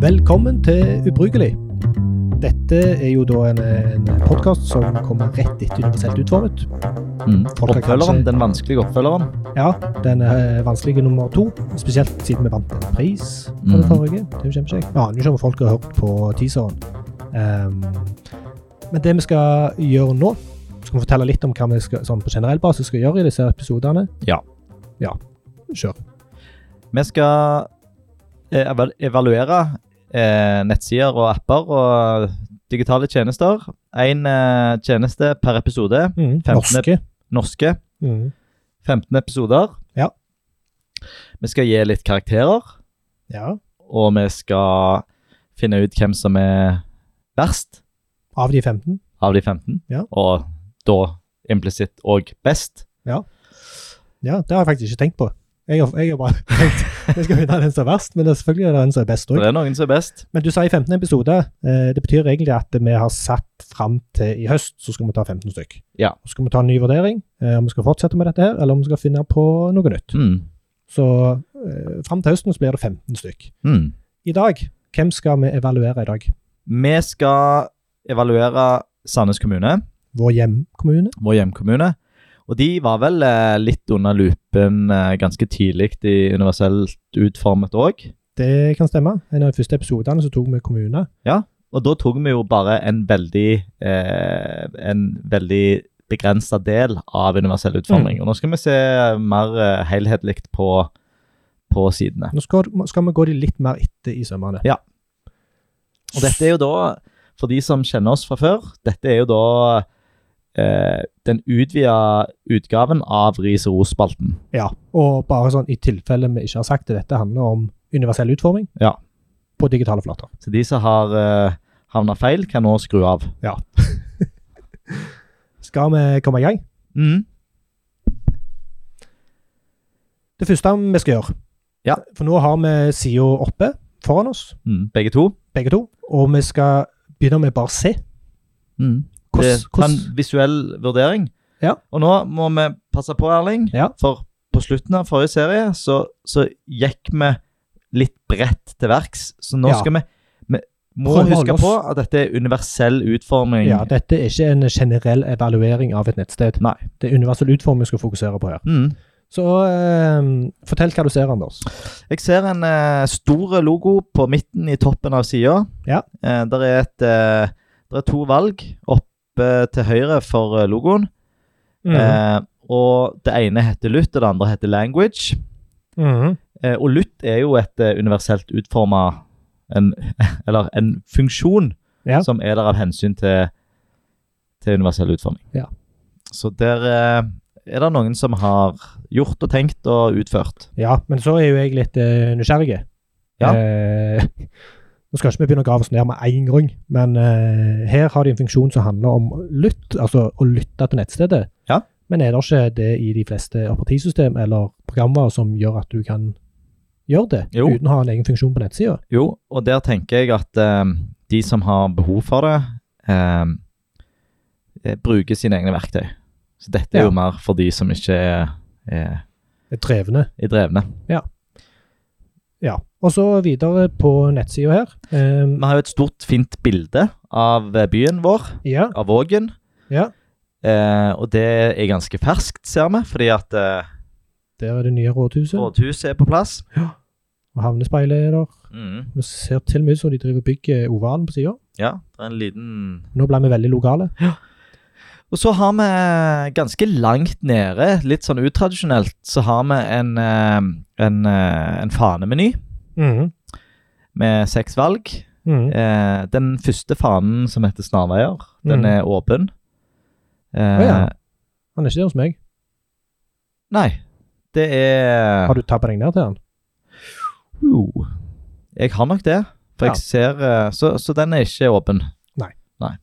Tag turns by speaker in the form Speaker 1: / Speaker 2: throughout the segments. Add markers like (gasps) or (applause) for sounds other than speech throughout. Speaker 1: Velkommen til Ubrukelig. Dette er jo da en, en podkast som kommer rett etter universelt utformet.
Speaker 2: Mm.
Speaker 1: Folk har
Speaker 2: Oppfølgeren,
Speaker 1: kanskje-
Speaker 2: Den vanskelige oppfølgeren.
Speaker 1: Ja, den er vanskelig nummer to. Spesielt siden vi vant en pris på
Speaker 2: Mhm.
Speaker 1: det forrige. Det er jo kjempekjekt. Jeg aner jo ikke om folk har hørt på teaseren. Ehm, men det vi skal gjøre nå, skal vi fortelle litt om hva vi skal, sånn på generell basis skal gjøre i disse episodene.
Speaker 2: Ja.
Speaker 1: Ja, kjør.
Speaker 2: Vi skal eh, eva- evaluere eh, nettsider og apper og digitale tjenester. Én eh, tjeneste per episode.
Speaker 1: Mhm,
Speaker 2: Mm, Femtende-
Speaker 1: Norske.
Speaker 2: Norske.
Speaker 1: Mhm,
Speaker 2: 15 episoder.
Speaker 1: Ja.
Speaker 2: Vi skal gi litt karakterer,
Speaker 1: Ja.
Speaker 2: og vi skal finne ut hvem som er verst
Speaker 1: Av de 15.
Speaker 2: av de 15.
Speaker 1: Ja.
Speaker 2: Og da implisitt òg best.
Speaker 1: Ja, det har jeg faktisk ikke tenkt på. Jeg har, jeg har bare (laughs) tenkt jeg skal finne den som er verst, men det er selvfølgelig er det den som er best
Speaker 2: For
Speaker 1: òg.
Speaker 2: det er noen som er best.
Speaker 1: Men du sa i 15 episoder. Eh, det betyr egentlig at vi har satt fram til i høst, så skal vi ta 15 stykk.
Speaker 2: Ja.
Speaker 1: Så skal vi ta en ny vurdering, eh, om vi skal fortsette med dette her, eller om vi skal finne på noe nytt.
Speaker 2: Mm.
Speaker 1: Så eh, fram til høsten så blir det 15 stykk.
Speaker 2: Mm.
Speaker 1: I dag, hvem skal vi evaluere i dag?
Speaker 2: Vi skal evaluere Sandnes kommune,
Speaker 1: Vår hjemkommune?
Speaker 2: vår hjemkommune. Og de var vel eh, litt under lupen eh, ganske tidlig i universelt utformet òg.
Speaker 1: Det kan stemme. En av de første episodene så tok vi kommune.
Speaker 2: Og da tok vi jo bare en veldig eh, en veldig begrensa del av universell utforming. Og nå skal vi se mer eh, helhetlig på, på sidene.
Speaker 1: Nå skal, skal vi gå de litt mer etter i sømmene.
Speaker 2: Ja. Og dette er jo da, for de som kjenner oss fra før, dette er jo da eh, den utvida utgaven av Ris og ros-spalten.
Speaker 1: Ja, og bare sånn i tilfelle vi ikke har sagt det, dette handler om universell utforming
Speaker 2: Ja.
Speaker 1: på digitale flater.
Speaker 2: Så de som har uh, havna feil, kan nå skru av.
Speaker 1: Skal vi komme i gang?
Speaker 2: Mm.
Speaker 1: Det første vi skal gjøre,
Speaker 2: Ja.
Speaker 1: for nå har vi sida oppe foran oss,
Speaker 2: Mm. Begge to.
Speaker 1: begge to, og vi skal begynne med bare se.
Speaker 2: Mm. Det
Speaker 1: Hvordan,
Speaker 2: ta en
Speaker 1: hvordan,
Speaker 2: visuell vurdering.
Speaker 1: Ja.
Speaker 2: Og nå må vi passe på, Erling,
Speaker 1: Ja.
Speaker 2: for på slutten av forrige serie så, så gikk vi litt bredt til verks, så nå
Speaker 1: Ja.
Speaker 2: skal vi vi må
Speaker 1: Prøv å holde
Speaker 2: huske
Speaker 1: oss-
Speaker 2: på at dette er universell utforming.
Speaker 1: ja, dette er ikke en generell evaluering av et nettsted.
Speaker 2: Nei.
Speaker 1: Det er universell utforming vi skal fokusere på her.
Speaker 2: Mm.
Speaker 1: Så eh, fortell hva du ser, Anders.
Speaker 2: Jeg ser en eh, stor logo på midten i toppen av sida.
Speaker 1: Ja.
Speaker 2: Eh, der, er et, eh, der er to valg oppe til høyre for eh, logoen.
Speaker 1: Mm.
Speaker 2: Eh, og det ene heter LUT, og det andre heter Language.
Speaker 1: Mhm.
Speaker 2: Eh, og LUT er jo et eh, universelt utforma (laughs) Eller en funksjon
Speaker 1: Ja.
Speaker 2: som er der av hensyn til, til universell utforming.
Speaker 1: Ja.
Speaker 2: Så der eh, er det noen som har gjort og tenkt og utført.
Speaker 1: Ja, men så er jo jeg litt eh, nysgjerrig.
Speaker 2: Ja.
Speaker 1: Eh, (laughs) nå skal ikke vi begynne å grave oss ned med én gang, men eh, her har de en funksjon som handler om lytt, altså å lytte til nettstedet.
Speaker 2: Ja.
Speaker 1: Men er det ikke det i de fleste operativsystem eller programmer som gjør at du kan gjøre det,
Speaker 2: Jo.
Speaker 1: uten å ha en egen funksjon på nettsida?
Speaker 2: Jo, og der tenker jeg at eh, de som har behov for det, eh, eh, bruker sine egne verktøy. Så dette er
Speaker 1: Ja.
Speaker 2: jo mer for de som ikke er, er,
Speaker 1: Det er Drevne.
Speaker 2: er drevne.
Speaker 1: Ja. Og så videre på nettsida her. Eh,
Speaker 2: Vi har jo et stort, fint bilde av eh, byen vår,
Speaker 1: ja.
Speaker 2: av Vågen.
Speaker 1: Ja.
Speaker 2: Eh, og det er ganske ferskt, ser vi, fordi at eh,
Speaker 1: Der er det nye rådhuset.
Speaker 2: rådhuset er på plass.
Speaker 1: Og havnespeilet er der.
Speaker 2: Mm.
Speaker 1: Det ser til og med ut som de driver og bygger ovalen på sida.
Speaker 2: Ja, det er en liten
Speaker 1: Nå ble vi veldig lokale.
Speaker 2: Og så har vi ganske langt nede, litt sånn utradisjonelt, så har vi en, eh, en, eh, en fanemeny
Speaker 1: Mhm.
Speaker 2: med seks valg.
Speaker 1: Mhm.
Speaker 2: Eh, den første fanen som heter Snarveier, den
Speaker 1: Mm.
Speaker 2: er åpen. Eh,
Speaker 1: Å ja. Han er ikke der hos meg.
Speaker 2: Nei, det er
Speaker 1: Har du tabba deg ned til han?
Speaker 2: Jo, Jeg har nok det, for
Speaker 1: Ja.
Speaker 2: jeg ser eh, så, så den er ikke åpen.
Speaker 1: Nei.
Speaker 2: Nei.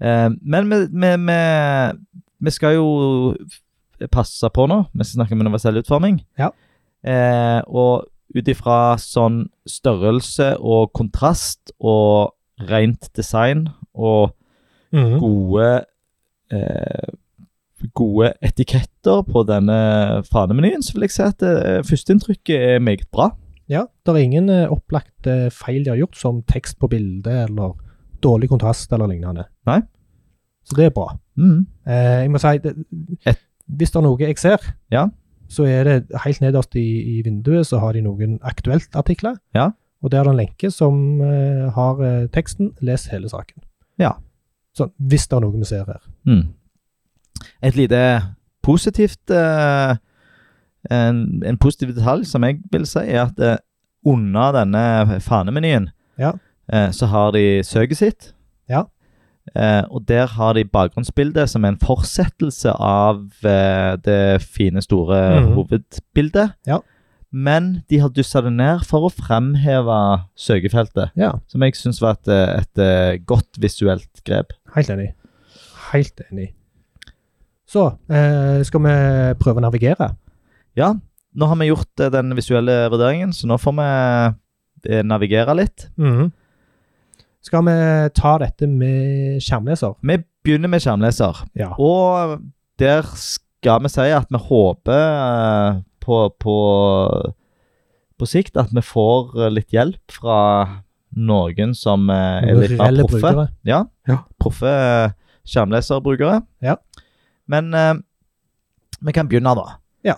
Speaker 2: Eh, men vi, vi, vi, vi skal jo passe på nå. Vi skal snakke om universell utforming.
Speaker 1: Ja.
Speaker 2: Eh, og ut ifra sånn størrelse og kontrast og rent design og Mm. gode eh, Gode etiketter på denne fanemenyen, så vil jeg si at eh, førsteinntrykket er meget bra.
Speaker 1: Ja, det er ingen eh, opplagte feil de har gjort, som tekst på bildet eller dårlig kontrast eller lignende.
Speaker 2: Nei.
Speaker 1: Så det er bra.
Speaker 2: Mm.
Speaker 1: Eh, jeg må si, det,
Speaker 2: Et-
Speaker 1: hvis det er noe jeg ser,
Speaker 2: Ja.
Speaker 1: så er det helt nederst i, i vinduet så har de noen aktuelt-artikler.
Speaker 2: Ja.
Speaker 1: Og der er det en lenke som eh, har eh, teksten 'les hele saken'.
Speaker 2: Ja.
Speaker 1: Sånn, hvis det er noe vi ser her.
Speaker 2: Mm. Et lite positivt eh, en, en positiv detalj som jeg vil si, er at eh, under denne fanemenyen
Speaker 1: Ja.
Speaker 2: eh, så har de søket sitt.
Speaker 1: Ja.
Speaker 2: Eh, og der har de bakgrunnsbildet som er en fortsettelse av eh, det fine, store
Speaker 1: Mhm.
Speaker 2: hovedbildet.
Speaker 1: Ja.
Speaker 2: Men de har dussa det ned for å fremheve søkefeltet,
Speaker 1: Ja,
Speaker 2: som jeg syns var et, eh, et eh, godt visuelt grep.
Speaker 1: helt enig. Helt enig. Så eh, skal vi prøve å navigere.
Speaker 2: Ja, nå har vi gjort eh, den visuelle vurderingen, så nå får vi eh, navigere litt.
Speaker 1: Skal vi ta dette med skjermleser?
Speaker 2: Vi begynner med skjermleser,
Speaker 1: Ja.
Speaker 2: og der skal vi si at vi håper eh, på, på, på sikt at vi får eh, litt hjelp fra noen som eh, er litt mer
Speaker 1: Reelle
Speaker 2: proffe.
Speaker 1: brukere.
Speaker 2: Ja,
Speaker 1: Ja.
Speaker 2: proffe eh, skjermleserbrukere.
Speaker 1: Ja.
Speaker 2: Men eh, vi kan begynne, da.
Speaker 1: Ja.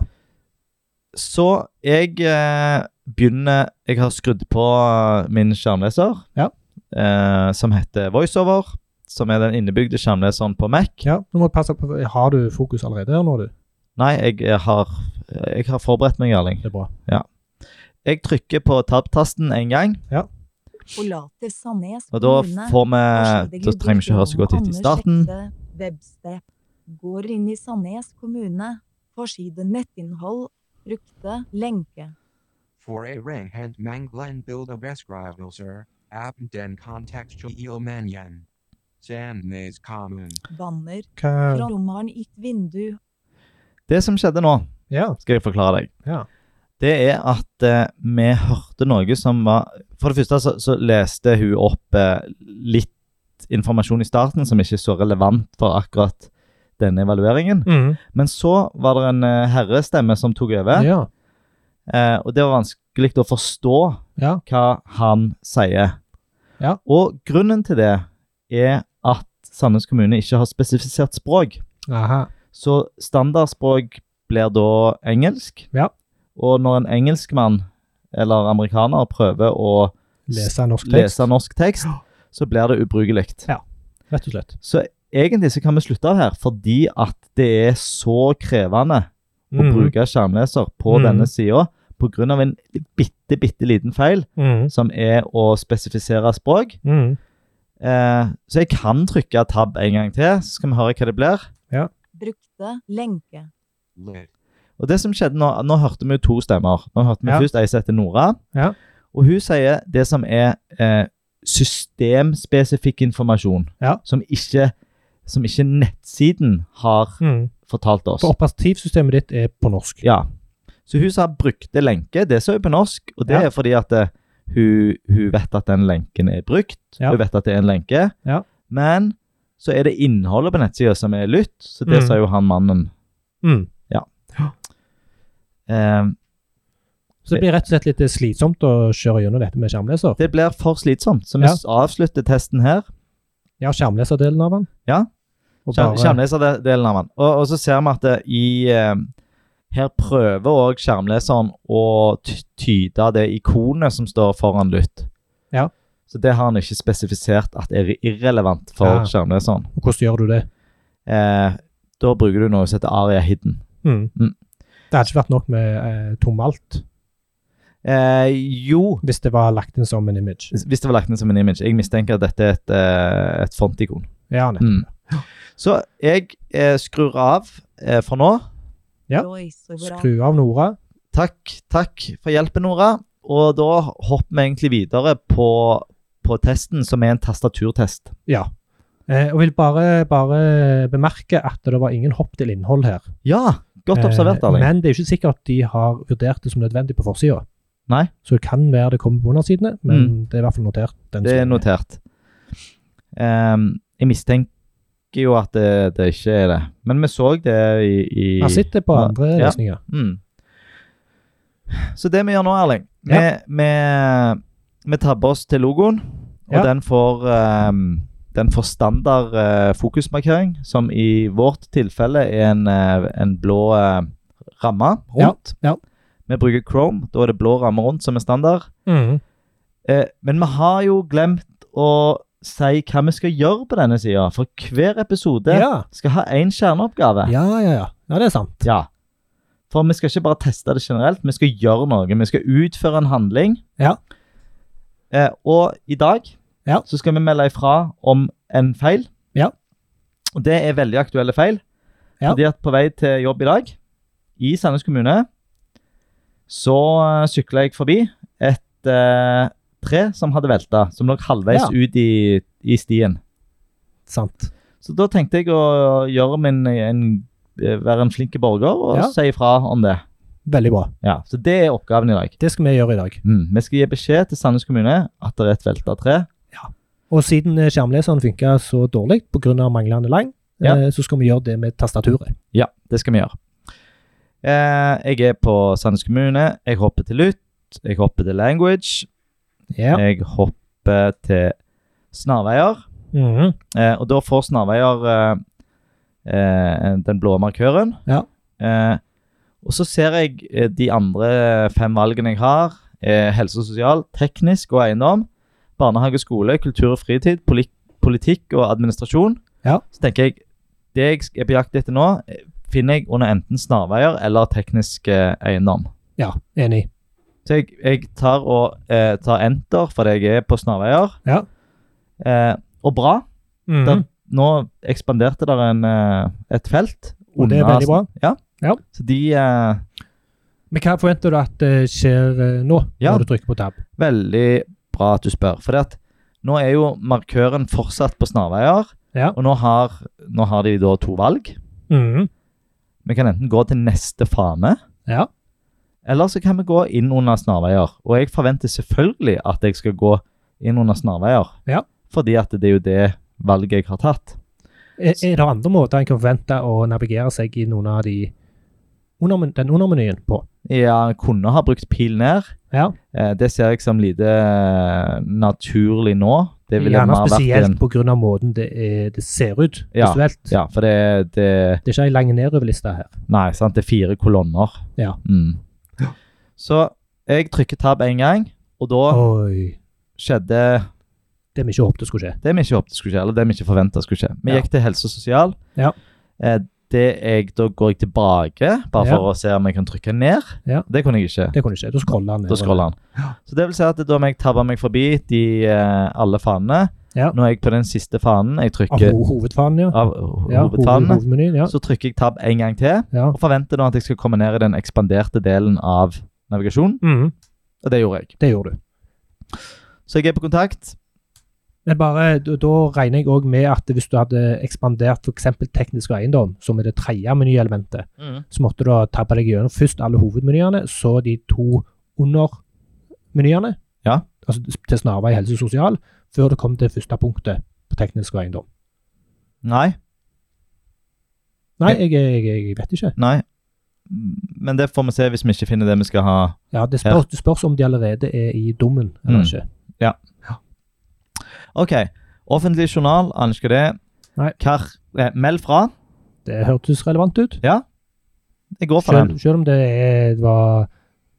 Speaker 2: Så jeg eh, begynner Jeg har skrudd på eh, min skjermleser,
Speaker 1: Ja.
Speaker 2: eh, som heter VoiceOver. Som er den innebygde skjermleseren på Mac.
Speaker 1: Ja, nå må du passe på. Har du fokus allerede her nå, du?
Speaker 2: Nei, jeg, eh, har, jeg har forberedt meg, Erling.
Speaker 1: Det er bra.
Speaker 2: Jeg trykker på tab-tasten en gang,
Speaker 3: Olater Sandnes
Speaker 2: og da
Speaker 3: kommune.
Speaker 2: får vi
Speaker 3: Forslaget
Speaker 2: Da trenger vi ikke høre så godt etter i
Speaker 3: Anders
Speaker 2: starten.
Speaker 3: Hekse, websted. Går inn i Sandnes kommune. Forside nettinnhold. Brukte lenke.
Speaker 4: For a ring hand manglan build of escrivelser, abden contextual manyan. Sandnes common.
Speaker 3: Banner.
Speaker 1: Hva
Speaker 3: Trommeren i et vindu.
Speaker 2: Det som skjedde nå,
Speaker 1: Ja.
Speaker 2: skal jeg forklare deg.
Speaker 1: Ja.
Speaker 2: Det er at eh, vi hørte noe som var For det første så, så leste hun opp eh, litt informasjon i starten som ikke er så relevant for akkurat denne evalueringen. Men så var det en eh, herrestemme som tok over,
Speaker 1: ja.
Speaker 2: eh, og det var vanskelig å forstå
Speaker 1: Ja.
Speaker 2: hva han sier.
Speaker 1: Ja.
Speaker 2: Og grunnen til det er at Sandnes kommune ikke har spesifisert språk.
Speaker 1: Aha.
Speaker 2: Så standardspråk blir da engelsk.
Speaker 1: Ja.
Speaker 2: Og når en engelskmann eller amerikaner prøver å
Speaker 1: Lese norsk tekst,
Speaker 2: lese norsk tekst, så blir det ubrukelig.
Speaker 1: Ja. rett og slett.
Speaker 2: Så egentlig så kan vi slutte av her, fordi at det er så krevende
Speaker 1: Mm-hmm. Mm.
Speaker 2: å bruke skjermleser på
Speaker 1: Mhm.
Speaker 2: denne sida pga. en bitte, bitte liten feil,
Speaker 1: Mm.
Speaker 2: som er å spesifisere språk.
Speaker 1: Mm.
Speaker 2: Eh, så jeg kan trykke tab en gang til, så skal vi høre hva det blir.
Speaker 3: Brukte lenke.
Speaker 4: Lit.
Speaker 2: Og det som skjedde Nå nå hørte vi jo to stemmer. Nå hørte vi
Speaker 1: Ja.
Speaker 2: først ei som heter Nora.
Speaker 1: Ja.
Speaker 2: Og hun sier det som er eh, systemspesifikk informasjon,
Speaker 1: Ja.
Speaker 2: som, ikke, som ikke nettsiden har
Speaker 1: Mm.
Speaker 2: fortalt oss.
Speaker 1: For operativsystemet ditt er på norsk.
Speaker 2: Ja. Så hun sa 'brukte lenke'. Det sa hun på norsk, og det
Speaker 1: Ja.
Speaker 2: er fordi at eh, hun, hun vet at den lenken er brukt.
Speaker 1: Ja.
Speaker 2: Hun vet at det er en lenke.
Speaker 1: Ja.
Speaker 2: Men så er det innholdet på nettsida som er lytt, så det
Speaker 1: Mm.
Speaker 2: sa jo han mannen.
Speaker 1: Mm.
Speaker 2: Eh,
Speaker 1: Så det blir rett og slett litt slitsomt å kjøre gjennom dette med skjermleser.
Speaker 2: Det blir for slitsomt, så vi
Speaker 1: Ja.
Speaker 2: s- avslutter testen her.
Speaker 1: Ja, skjermleserdelen av den.
Speaker 2: Ja.
Speaker 1: Og bare-
Speaker 2: Skjermleserdelen av den. Og, og så ser vi at det, i eh, Her prøver òg skjermleseren å ty- tyde det ikonet som står foran lytt.
Speaker 1: Ja.
Speaker 2: Så det har han ikke spesifisert at er irrelevant for
Speaker 1: Ja.
Speaker 2: skjermleseren.
Speaker 1: Og hvordan gjør du det?
Speaker 2: Eh, da bruker du noe som heter aria hidden.
Speaker 1: Mm.
Speaker 2: Mm.
Speaker 1: Det hadde ikke vært nok med eh, tomalt
Speaker 2: Eh, jo
Speaker 1: hvis det var lagt inn som en image.
Speaker 2: Hvis det var lagt ned som en image. Jeg mistenker at dette er et, eh, et fontikon.
Speaker 1: Ja, nettopp.
Speaker 2: Mm. Så jeg eh, skrur av eh, for nå.
Speaker 1: Ja.
Speaker 3: Voiceover.
Speaker 1: Skru av Nora.
Speaker 2: Takk, takk for hjelpen, Nora. Og da hopper vi egentlig videre på, på testen, som er en tastaturtest.
Speaker 1: Ja. Eh, og vil bare, bare bemerke at det var ingen hopp til innhold her.
Speaker 2: Ja, godt observert,
Speaker 1: Eh,
Speaker 2: Erling.
Speaker 1: Men det er jo ikke sikkert at de har vurdert det som nødvendig på forsida.
Speaker 2: Nei. Mm.
Speaker 1: Så det kan være det kommer på undersidene, men det er i hvert fall notert. den
Speaker 2: Det er
Speaker 1: siden.
Speaker 2: notert. Ehm, jeg mistenker jo at det, det ikke er det. Men vi så det i, i
Speaker 1: Jeg sitter på andre
Speaker 2: Ja.
Speaker 1: løsninger.
Speaker 2: mm. Så det vi gjør nå, Erling Vi,
Speaker 1: Mm. Ja.
Speaker 2: vi, vi tabber oss til logoen, og
Speaker 1: Ja.
Speaker 2: den får ehm, den får standard eh, fokusmarkering, som i vårt tilfelle er en, eh, en blå eh, ramme rundt.
Speaker 1: Ja, ja.
Speaker 2: Vi bruker Chrome, da er det blå ramme rundt som er standard.
Speaker 1: Mhm.
Speaker 2: Eh, men vi har jo glemt å si hva vi skal gjøre på denne sida, for hver episode
Speaker 1: Ja.
Speaker 2: skal ha én kjerneoppgave.
Speaker 1: ja, ja, ja. Ja, det er sant.
Speaker 2: Ja. For vi skal ikke bare teste det generelt, vi skal gjøre noe. Vi skal utføre en handling.
Speaker 1: Ja.
Speaker 2: Eh, og i dag
Speaker 1: Ja.
Speaker 2: så skal vi melde ifra om en feil.
Speaker 1: Ja.
Speaker 2: Og det er veldig aktuelle feil.
Speaker 1: Ja.
Speaker 2: Fordi at på vei til jobb i dag, i Sandnes kommune, så eh, sykla jeg forbi et eh, tre som hadde velta, som lå halvveis
Speaker 1: Ja.
Speaker 2: ut i, i stien.
Speaker 1: Sant.
Speaker 2: Så da tenkte jeg å gjøre min, en, eh, være en flink borger og
Speaker 1: Ja.
Speaker 2: si ifra om det.
Speaker 1: Veldig bra.
Speaker 2: Ja, Så det er oppgaven i dag.
Speaker 1: Det skal vi gjøre i dag.
Speaker 2: Mm. Vi skal gi beskjed til Sandnes kommune at det er et velta tre.
Speaker 1: Og siden eh, skjermleseren funka så dårlig pga. manglende lang,
Speaker 2: Ja.
Speaker 1: eh, så skal vi gjøre det med tastaturet.
Speaker 2: Ja, det skal vi gjøre. Eh, jeg er på Sandnes kommune. Jeg hopper til lytt. Jeg hopper til language.
Speaker 1: Ja.
Speaker 2: Jeg hopper til snarveier.
Speaker 1: Mhm.
Speaker 2: Eh, og da får snarveier eh, eh, den blå markøren.
Speaker 1: Ja.
Speaker 2: Eh, og så ser jeg eh, de andre fem valgene jeg har. Eh, helse og sosial, teknisk og eiendom. Barnehage og skole, kultur og fritid, poli politikk og administrasjon.
Speaker 1: Ja.
Speaker 2: Så tenker jeg, det jeg sk- er på jakt etter nå, eh, finner jeg under enten snarveier eller teknisk eh, eiendom.
Speaker 1: ja, enig.
Speaker 2: Så jeg, jeg tar, og, eh, tar enter fordi jeg er på snarveier.
Speaker 1: Ja.
Speaker 2: Eh, og bra,
Speaker 1: Mhm.
Speaker 2: Der- nå ekspanderte der en, eh, et felt.
Speaker 1: Og det er
Speaker 2: under-
Speaker 1: veldig bra.
Speaker 2: Så de eh,
Speaker 1: Men hva forventer du at eh, skjer eh, nå,
Speaker 2: Ja.
Speaker 1: når du trykker på tab?
Speaker 2: Veldig bra at du spør. For at nå er jo markøren fortsatt på snarveier.
Speaker 1: Ja.
Speaker 2: Og nå har, nå har de da to valg.
Speaker 1: Mhm.
Speaker 2: Vi kan enten gå til neste fane,
Speaker 1: Ja.
Speaker 2: eller så kan vi gå inn under snarveier. Og jeg forventer selvfølgelig at jeg skal gå inn under snarveier.
Speaker 1: Ja.
Speaker 2: Fordi at det er jo det valget jeg har tatt.
Speaker 1: Er, er det andre måter en kan forvente å navigere seg i noen av de under, den undermenyen på?
Speaker 2: Jeg kunne ha brukt pil ned.
Speaker 1: Ja.
Speaker 2: Eh, Det ser jeg som lite eh, naturlig nå. Det ville
Speaker 1: Gjerne
Speaker 2: mer vært en-
Speaker 1: spesielt pga. måten det, er, det ser ut
Speaker 2: Ja,
Speaker 1: visuelt.
Speaker 2: Ja, for det, det
Speaker 1: Det er ikke ei lang nedoverliste her.
Speaker 2: Nei, sant? det er fire kolonner.
Speaker 1: Ja.
Speaker 2: Mm. Så jeg trykker tab en gang, og da
Speaker 1: Oi.
Speaker 2: skjedde
Speaker 1: Det vi ikke håpet skulle skje.
Speaker 2: det vi ikke håpte skulle skje, eller det vi ikke forventa skulle skje. Vi
Speaker 1: Ja.
Speaker 2: gikk til helse og sosial.
Speaker 1: Ja.
Speaker 2: Eh, det jeg, da går jeg tilbake, bare
Speaker 1: Ja.
Speaker 2: for å se om jeg kan trykke ned.
Speaker 1: Ja.
Speaker 2: Det kunne jeg ikke.
Speaker 1: Det kunne ikke. Da scroller han.
Speaker 2: Da scroller han. Så det vil si at da må jeg tabbe meg forbi de, eh, alle fanene.
Speaker 1: Ja.
Speaker 2: Nå er jeg på den siste fanen. Jeg
Speaker 1: Av
Speaker 2: trykker
Speaker 1: ho hovedfanen, ja.
Speaker 2: av
Speaker 1: ja
Speaker 2: ho-
Speaker 1: hoved-
Speaker 2: hovedfanene.
Speaker 1: hovedmenyen, ja.
Speaker 2: Så trykker jeg tab en gang til,
Speaker 1: ja.
Speaker 2: og forventer nå at jeg skal komme ned i den ekspanderte delen av navigasjonen.
Speaker 1: Mhm,
Speaker 2: Og det gjorde jeg.
Speaker 1: det gjorde du.
Speaker 2: Så jeg er på kontakt.
Speaker 1: Men bare, da- da regner jeg òg med at hvis du hadde ekspandert f.eks. teknisk eiendom, som er det tredje menyelementet, så måtte du ha tabba deg gjennom først alle hovedmenyene, så de to undermenyene.
Speaker 2: Ja.
Speaker 1: Altså til snarvei helse og sosial, før du kom til første punktet på teknisk eiendom.
Speaker 2: Nei,
Speaker 1: Nei, jeg, jeg, jeg vet ikke.
Speaker 2: nei. Men det får vi se hvis vi ikke finner det vi skal ha.
Speaker 1: Ja, Det spørs, det spørs om de allerede er i dommen eller
Speaker 2: Mm.
Speaker 1: ikke.
Speaker 2: OK. Offentlig journal, aner ikke det.
Speaker 1: Nei.
Speaker 2: Kar, eh, meld fra.
Speaker 1: Det hørtes relevant ut.
Speaker 2: Jeg går for
Speaker 1: Selv,
Speaker 2: den.
Speaker 1: selv om det er, var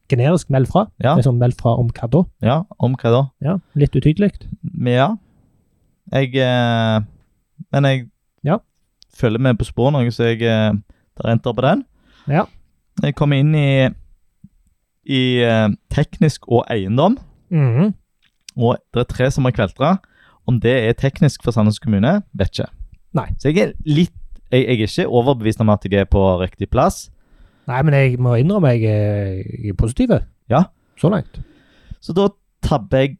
Speaker 1: generisk meld fra.
Speaker 2: Ja.
Speaker 1: Det er sånn meld fra om hva da?
Speaker 2: Ja, om hva da?
Speaker 1: Ja, Litt utydelig.
Speaker 2: Men Ja. Jeg eh, Men jeg
Speaker 1: Ja.
Speaker 2: følger med på sporet noe, så jeg eh, tar enter på den.
Speaker 1: Ja.
Speaker 2: Jeg kommer inn i, i eh, teknisk og eiendom,
Speaker 1: Mhm.
Speaker 2: og det er tre som har kveltra. Om det er teknisk for Sandnes kommune, vet ikke.
Speaker 1: Nei.
Speaker 2: Så jeg er litt jeg, jeg er ikke overbevist om at jeg er på riktig plass.
Speaker 1: Nei, men jeg må innrømme jeg er, jeg er positiv.
Speaker 2: Ja.
Speaker 1: Så langt.
Speaker 2: Så da tabber jeg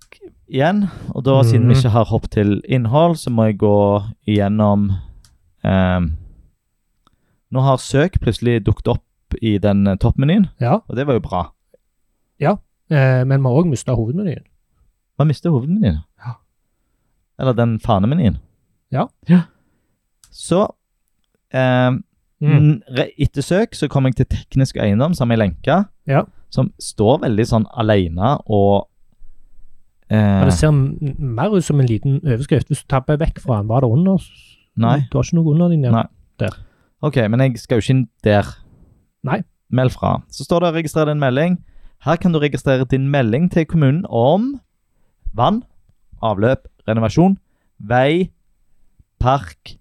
Speaker 2: igjen. Og da, siden
Speaker 1: Mhm.
Speaker 2: vi ikke har hopp til innhold, så må jeg gå igjennom ehm, Nå har søk plutselig dukket opp i den eh, toppmenyen,
Speaker 1: Ja.
Speaker 2: og det var jo bra.
Speaker 1: Eh, men vi har òg mista hovedmenyen.
Speaker 2: Man mister hovedmenyen.
Speaker 1: Ja.
Speaker 2: Eller den fanemenyen.
Speaker 1: Ja.
Speaker 2: Så
Speaker 1: Mm. Mhm.
Speaker 2: Mm. ehm, N- re- Etter søk så kom jeg til teknisk eiendom, som jeg lenka.
Speaker 1: Ja.
Speaker 2: som står veldig sånn alene og eh,
Speaker 1: Men det ser m- mer ut som en liten overskrift. Hvis du tabber vekk fra den, var det under?
Speaker 2: Nei.
Speaker 1: Du har ikke noe under din der.
Speaker 2: Nei. Ok, men jeg skal jo ikke inn der.
Speaker 1: Nei.
Speaker 2: Meld fra. Så står det 'registrer din melding'. Her kan du registrere din melding til kommunen om vann, avløp, renovasjon, vei, park,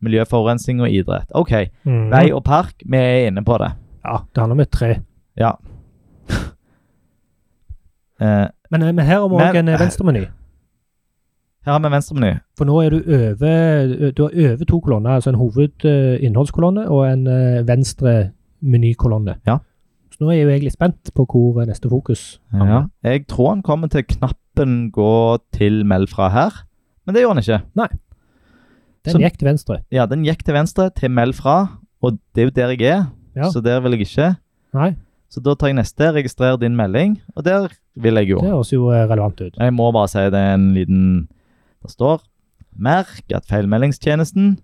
Speaker 2: miljøforurensning og idrett. Ok,
Speaker 1: Mhm.
Speaker 2: vei og park, vi er inne på det.
Speaker 1: Ja, det handler om et tre.
Speaker 2: Eh,
Speaker 1: Men, eh, men her har vi
Speaker 2: Men-
Speaker 1: òg en eh, venstremeny.
Speaker 2: her har vi venstremeny.
Speaker 1: For nå er du over Du har over to kolonner, altså en hovedinnholdskolonne og en eh, venstre menykolonne.
Speaker 2: Ja.
Speaker 1: Så nå er jo jeg litt spent på hvor eh, neste fokus
Speaker 2: Ja. Jeg tror han kommer til knappen 'gå til meld fra' her, men det gjorde han ikke.
Speaker 1: Den
Speaker 2: Så-
Speaker 1: gikk til venstre.
Speaker 2: Ja, den gikk til venstre, til meld fra, og det er jo der jeg er,
Speaker 1: Ja.
Speaker 2: så der vil jeg ikke.
Speaker 1: Nei,
Speaker 2: Så da tar jeg neste, registrer din melding, og der vil jeg jo.
Speaker 1: det høres jo eh, relevant ut.
Speaker 2: Jeg må bare si det er en liten Det står Merk at feilmeldingstjenesten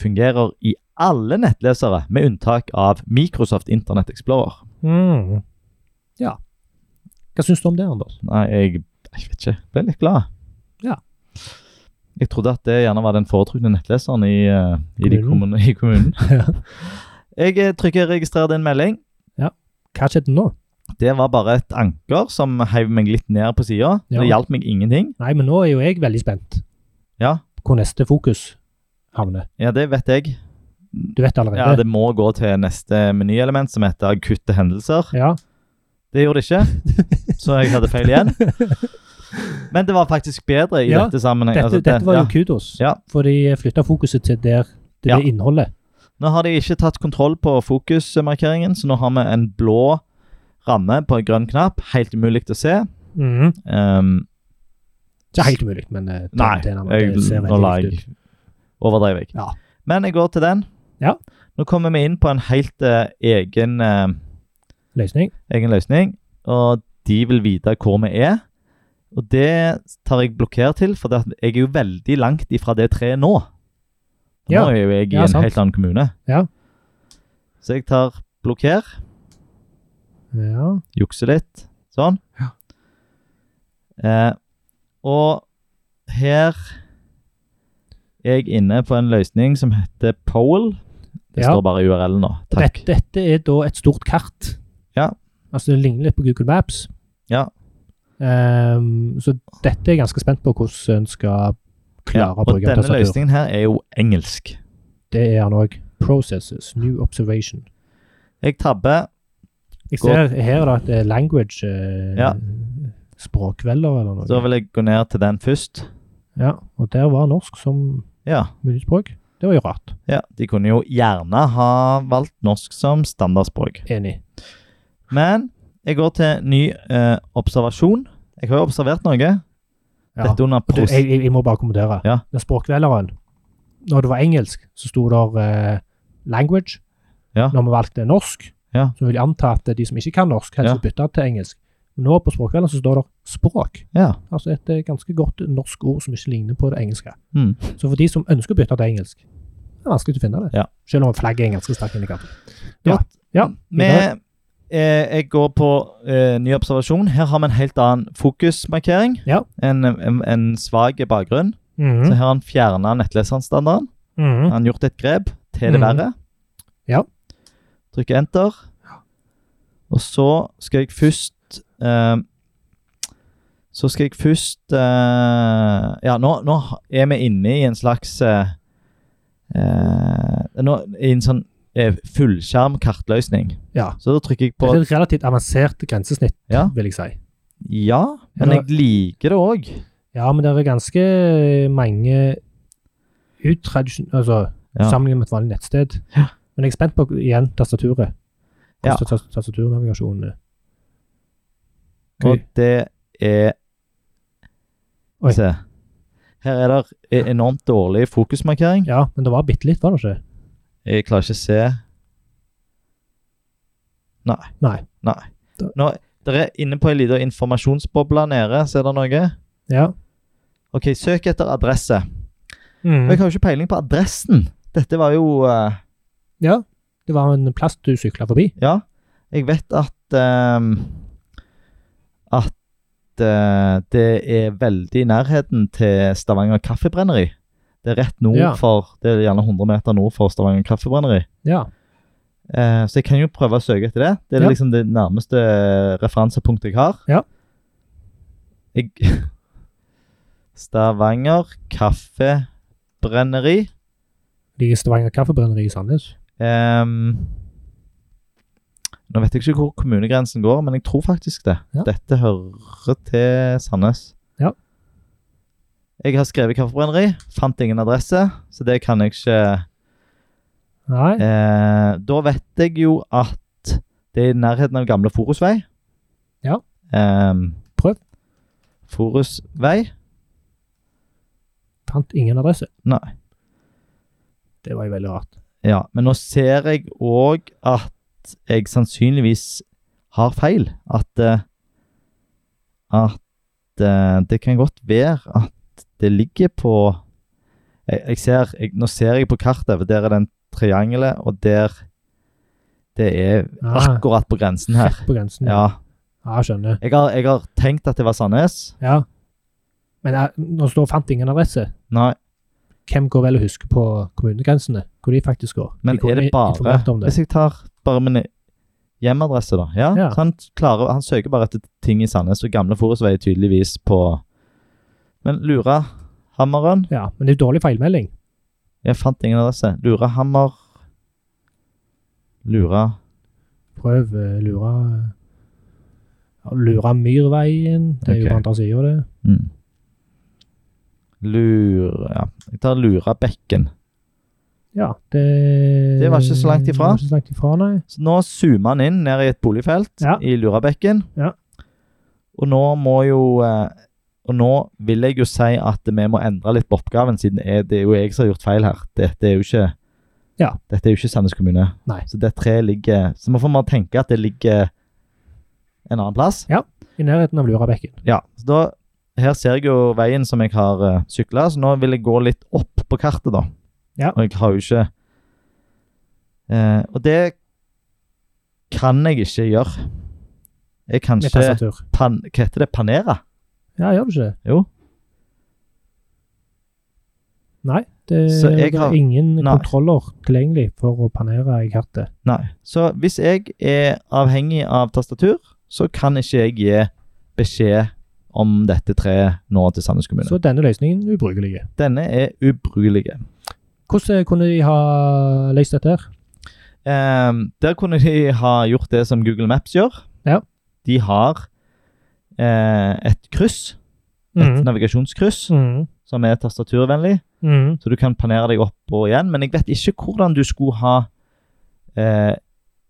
Speaker 2: fungerer i alle nettlesere, med unntak av Microsoft Internet Explorer.
Speaker 1: Mm. Ja. Hva syns du om det, Anders?
Speaker 2: Nei, jeg, jeg vet ikke. Jeg ble litt glad.
Speaker 1: Ja.
Speaker 2: Jeg trodde at det gjerne var den foretrukne nettleseren i, eh, i, de
Speaker 1: Kommunen.
Speaker 2: kommunen, i kommunen.
Speaker 1: (laughs) Ja.
Speaker 2: Jeg eh, trykker 'registrer din melding'.
Speaker 1: Hva skjedde nå?
Speaker 2: Det var bare et anker som heiv meg litt ned på sida.
Speaker 1: Ja.
Speaker 2: Det hjalp meg ingenting.
Speaker 1: Nei, men nå er jo jeg veldig spent.
Speaker 2: Ja.
Speaker 1: Hvor neste fokus havner.
Speaker 2: Ja, det vet jeg.
Speaker 1: Du vet
Speaker 2: Ja,
Speaker 1: allerede?
Speaker 2: Det må gå til neste menyelement, som heter akutte hendelser.
Speaker 1: Ja.
Speaker 2: Det gjorde det ikke,
Speaker 1: (laughs)
Speaker 2: så jeg hadde feil igjen. Men det var faktisk bedre i
Speaker 1: Ja,
Speaker 2: dette sammenheng.
Speaker 1: Dette,
Speaker 2: altså, det-
Speaker 1: dette var jo
Speaker 2: ja.
Speaker 1: kudos,
Speaker 2: Ja.
Speaker 1: for de flytta fokuset til der til
Speaker 2: Ja.
Speaker 1: det innholdet.
Speaker 2: Nå har de ikke tatt kontroll på fokusmarkeringen, så nå har vi en blå ramme på en grønn knapp. Helt umulig til å se.
Speaker 1: Mhm.
Speaker 2: Ehm,
Speaker 1: Ikke helt umulig, men eh, til-
Speaker 2: Nei,
Speaker 1: til en annen.
Speaker 2: jeg,
Speaker 1: Det ser
Speaker 2: nå
Speaker 1: veldig
Speaker 2: la
Speaker 1: likt
Speaker 2: jeg Overdrev jeg.
Speaker 1: Ja.
Speaker 2: Men jeg går til den.
Speaker 1: Ja.
Speaker 2: Nå kommer vi inn på en helt eh, egen eh,
Speaker 1: ut. løsning.
Speaker 2: egen løsning, og de vil vite hvor vi er. Og det tar jeg blokker til, for det at jeg er jo veldig langt ifra det treet nå. Nå
Speaker 1: Ja,
Speaker 2: er jo jeg i
Speaker 1: ja,
Speaker 2: en
Speaker 1: sant.
Speaker 2: helt annen kommune.
Speaker 1: Ja.
Speaker 2: Så jeg tar blokker,
Speaker 1: Ja.
Speaker 2: jukser litt, sånn.
Speaker 4: Ja.
Speaker 2: Eh, og her er jeg inne på en løsning som heter Pole. Det
Speaker 1: Ja.
Speaker 2: står bare i URL-en nå. Takk.
Speaker 1: Dette, dette er da et stort kart.
Speaker 2: Ja.
Speaker 1: Altså, det ligner litt på Google Maps.
Speaker 2: Ja.
Speaker 1: Ehm, så dette er jeg ganske spent på hvordan en skal klare å
Speaker 2: og
Speaker 1: bruke en
Speaker 2: denne
Speaker 1: tastatur.
Speaker 2: løsningen her er jo engelsk.
Speaker 1: Det er han òg. Processes. New observation.
Speaker 2: Jeg tabber
Speaker 1: Jeg
Speaker 2: Gå-
Speaker 1: ser her er det et eh, language eh,
Speaker 2: Ja.
Speaker 1: Språkvelder eller noe.
Speaker 2: Så vil jeg gå ned til den først.
Speaker 1: Ja, og der var norsk som
Speaker 2: Ja,
Speaker 1: mulig språk. Det var jo rart.
Speaker 2: ja. De kunne jo gjerne ha valgt norsk som standardspråk.
Speaker 1: Enig.
Speaker 2: Men jeg går til ny eh, observasjon. Jeg har jo observert noe.
Speaker 1: Ja.
Speaker 2: Dette under
Speaker 1: Og Du,
Speaker 2: pros...
Speaker 1: jeg, jeg, jeg må bare kommentere.
Speaker 2: Ja.
Speaker 1: Den språkvelgeren Når det var engelsk, så sto der eh, language.
Speaker 2: Ja.
Speaker 1: Når vi valgte norsk,
Speaker 2: Ja.
Speaker 1: så vil jeg anta at de som ikke kan norsk, helst
Speaker 2: Ja.
Speaker 1: ja. bytte til engelsk. Nå på språkvelgeren så står det språk.
Speaker 2: Ja.
Speaker 1: Altså et eh, ganske godt norsk ord som ikke ligner på det engelske.
Speaker 2: Mm.
Speaker 1: Så for de som ønsker å bytte til engelsk, det er vanskelig å finne det.
Speaker 2: Ja.
Speaker 1: Selv om flagget er en ganske sterk indikator. Ja.
Speaker 2: Godt.
Speaker 1: ja.
Speaker 2: Med, eh, jeg går på eh, ny observasjon. Her har vi en helt annen fokusmarkering.
Speaker 1: Ja.
Speaker 2: En, en, en svak bakgrunn. Så
Speaker 1: Mhm.
Speaker 2: her har han fjerna nettleserstandarden.
Speaker 1: Mhm.
Speaker 2: Han har gjort et grep til det
Speaker 1: Mhm.
Speaker 2: verre.
Speaker 1: Ja.
Speaker 2: Trykker enter. Og så skal jeg først eh, Så skal jeg først eh, Ja, nå, nå er vi inne i en slags eh, eh, nå, I en sånn eh, fullskjerm kartløsning.
Speaker 1: Ja.
Speaker 2: Så da trykker jeg
Speaker 1: Det
Speaker 2: på
Speaker 1: er et relativt avansert grensesnitt,
Speaker 2: Ja.
Speaker 1: vil jeg si.
Speaker 2: Ja, men jeg liker det òg.
Speaker 1: Ja, men det er ganske eh, mange utradisjon... Altså,
Speaker 2: Ja.
Speaker 1: sammenlignet med et vanlig nettsted.
Speaker 2: Ja.
Speaker 1: Men jeg er spent på igjen tastaturet.
Speaker 2: Ja.
Speaker 1: Hvordan tas- Tastaturnavigasjonen er.
Speaker 2: Og det er
Speaker 1: Oi.
Speaker 2: Se. Her er det eh, enormt dårlig fokusmarkering.
Speaker 1: Ja, men det var bitte litt, var det ikke?
Speaker 2: Jeg klarer ikke å se Nei.
Speaker 1: Nei.
Speaker 2: Nei.
Speaker 1: Da-
Speaker 2: Nå, der er inne på ei lita informasjonsboble nede. Ser dere noe?
Speaker 1: Ja.
Speaker 2: OK, søk etter adresse.
Speaker 1: Mhm.
Speaker 2: Jeg har jo ikke peiling på adressen. Dette var jo eh,
Speaker 1: ja. Det var en plass du sykla forbi.
Speaker 2: Ja. Jeg vet at ehm, At eh, det er veldig i nærheten til Stavanger Kaffebrenneri. Det er rett nord
Speaker 1: Ja.
Speaker 2: for, det er gjerne 100 meter nord for Stavanger Kaffebrenneri.
Speaker 1: Ja.
Speaker 2: Eh, så jeg kan jo prøve å søke etter det. Det er
Speaker 1: Ja.
Speaker 2: liksom det nærmeste referansepunktet jeg har.
Speaker 1: Ja.
Speaker 2: Jeg (laughs) Stavanger Kaffebrenneri.
Speaker 1: Ligger Stavanger Kaffebrenneri i Sandnes?
Speaker 2: Ehm, nå vet jeg ikke hvor kommunegrensen går, men jeg tror faktisk det.
Speaker 1: Ja.
Speaker 2: Dette hører til Sandnes.
Speaker 1: Ja.
Speaker 2: Jeg har skrevet kaffebrenneri, fant ingen adresse, så det kan jeg ikke
Speaker 1: Nei.
Speaker 2: Eh, da vet jeg jo at det er i nærheten av gamle Forusvei.
Speaker 1: Ja.
Speaker 2: Ehm,
Speaker 1: Prøv.
Speaker 2: Forusvei?
Speaker 1: Fant ingen adresse.
Speaker 2: Nei.
Speaker 1: Det var jo veldig rart.
Speaker 2: Ja, men nå ser jeg òg at jeg sannsynligvis har feil. At eh, At eh, det kan godt være at det ligger på jeg, jeg ser, jeg, Nå ser jeg på kartet, for der er den triangelet, og der Det er
Speaker 1: Ah.
Speaker 2: (laughs) akkurat på grensen her.
Speaker 1: Rett Ah, på grensen.
Speaker 2: Ja.
Speaker 1: ja skjønner.
Speaker 2: Jeg har, jeg har tenkt at det var Sandnes.
Speaker 1: Ja. Men eh, når det står 'fant ingen adresse',
Speaker 2: Nei,
Speaker 1: hvem går vel å huske på kommunegrensene? Hvor de faktisk går?
Speaker 2: men
Speaker 1: de går
Speaker 2: er det bare
Speaker 1: om det.
Speaker 2: Hvis jeg tar bare min hjemmeadresse, da. Ja,
Speaker 1: Ja.
Speaker 2: Så han, klarer, han søker bare etter ting i Sandnes, og gamle Forusvei er tydeligvis på Men Lura Hammeren
Speaker 1: Ja, men det er jo dårlig feilmelding.
Speaker 2: Jeg fant ingen adresse. Lura Hammer Lura
Speaker 1: Prøv eh, lura ja, Lura Myrveien. Det er jo
Speaker 2: Ok.
Speaker 1: på andre sida av det.
Speaker 2: mm. Lura ja. Jeg tar Lurabekken.
Speaker 1: Ja, det
Speaker 2: Det var ikke så langt
Speaker 1: Det var
Speaker 2: ifra.
Speaker 1: ikke så langt ifra, nei.
Speaker 2: Så nå zoomer han inn ned i et boligfelt
Speaker 1: Ja.
Speaker 2: i Lurabekken.
Speaker 1: Ja.
Speaker 2: Og nå må jo eh, Og nå vil jeg jo si at vi må endre litt på oppgaven, siden jeg, det er jo jeg som har gjort feil her. Dette er jo ikke
Speaker 1: Ja.
Speaker 2: Dette er jo ikke Sandnes kommune.
Speaker 1: Nei.
Speaker 2: Så det treet ligger Så vi får bare tenke at det ligger en annen plass.
Speaker 1: I nærheten av Lurabekken.
Speaker 2: Ja, så da Her ser jeg jo veien som jeg har uh, sykla, så nå vil jeg gå litt opp på kartet, da.
Speaker 1: Ja.
Speaker 2: Og jeg har jo ikke eh, Og det kan jeg ikke gjøre. Jeg kan
Speaker 1: Med
Speaker 2: ikke
Speaker 1: tastatur.
Speaker 2: pan, Hva heter det? Panere?
Speaker 1: Ja, gjør du ikke det?
Speaker 2: Jo.
Speaker 1: Nei. Det,
Speaker 2: Så jeg
Speaker 1: det
Speaker 2: har-
Speaker 1: er ingen
Speaker 2: Nei.
Speaker 1: kontroller tilgjengelig for å panere i kartet.
Speaker 2: Nei. Så hvis jeg er avhengig av tastatur, så kan ikke jeg gi beskjed om dette treet nå til Sandnes kommune.
Speaker 1: Så denne løsningen er ubrukelig.
Speaker 2: Denne er ubrukelig.
Speaker 1: Hvordan eh, kunne de ha løst dette her?
Speaker 2: Ehm, der kunne de ha gjort det som Google Maps gjør.
Speaker 1: Ja.
Speaker 2: De har eh, et kryss, et
Speaker 1: Mhm.
Speaker 2: navigasjonskryss,
Speaker 1: Mhm.
Speaker 2: som er tastaturvennlig,
Speaker 1: Mhm.
Speaker 2: så du kan panere deg opp og igjen. Men jeg vet ikke hvordan du skulle ha eh,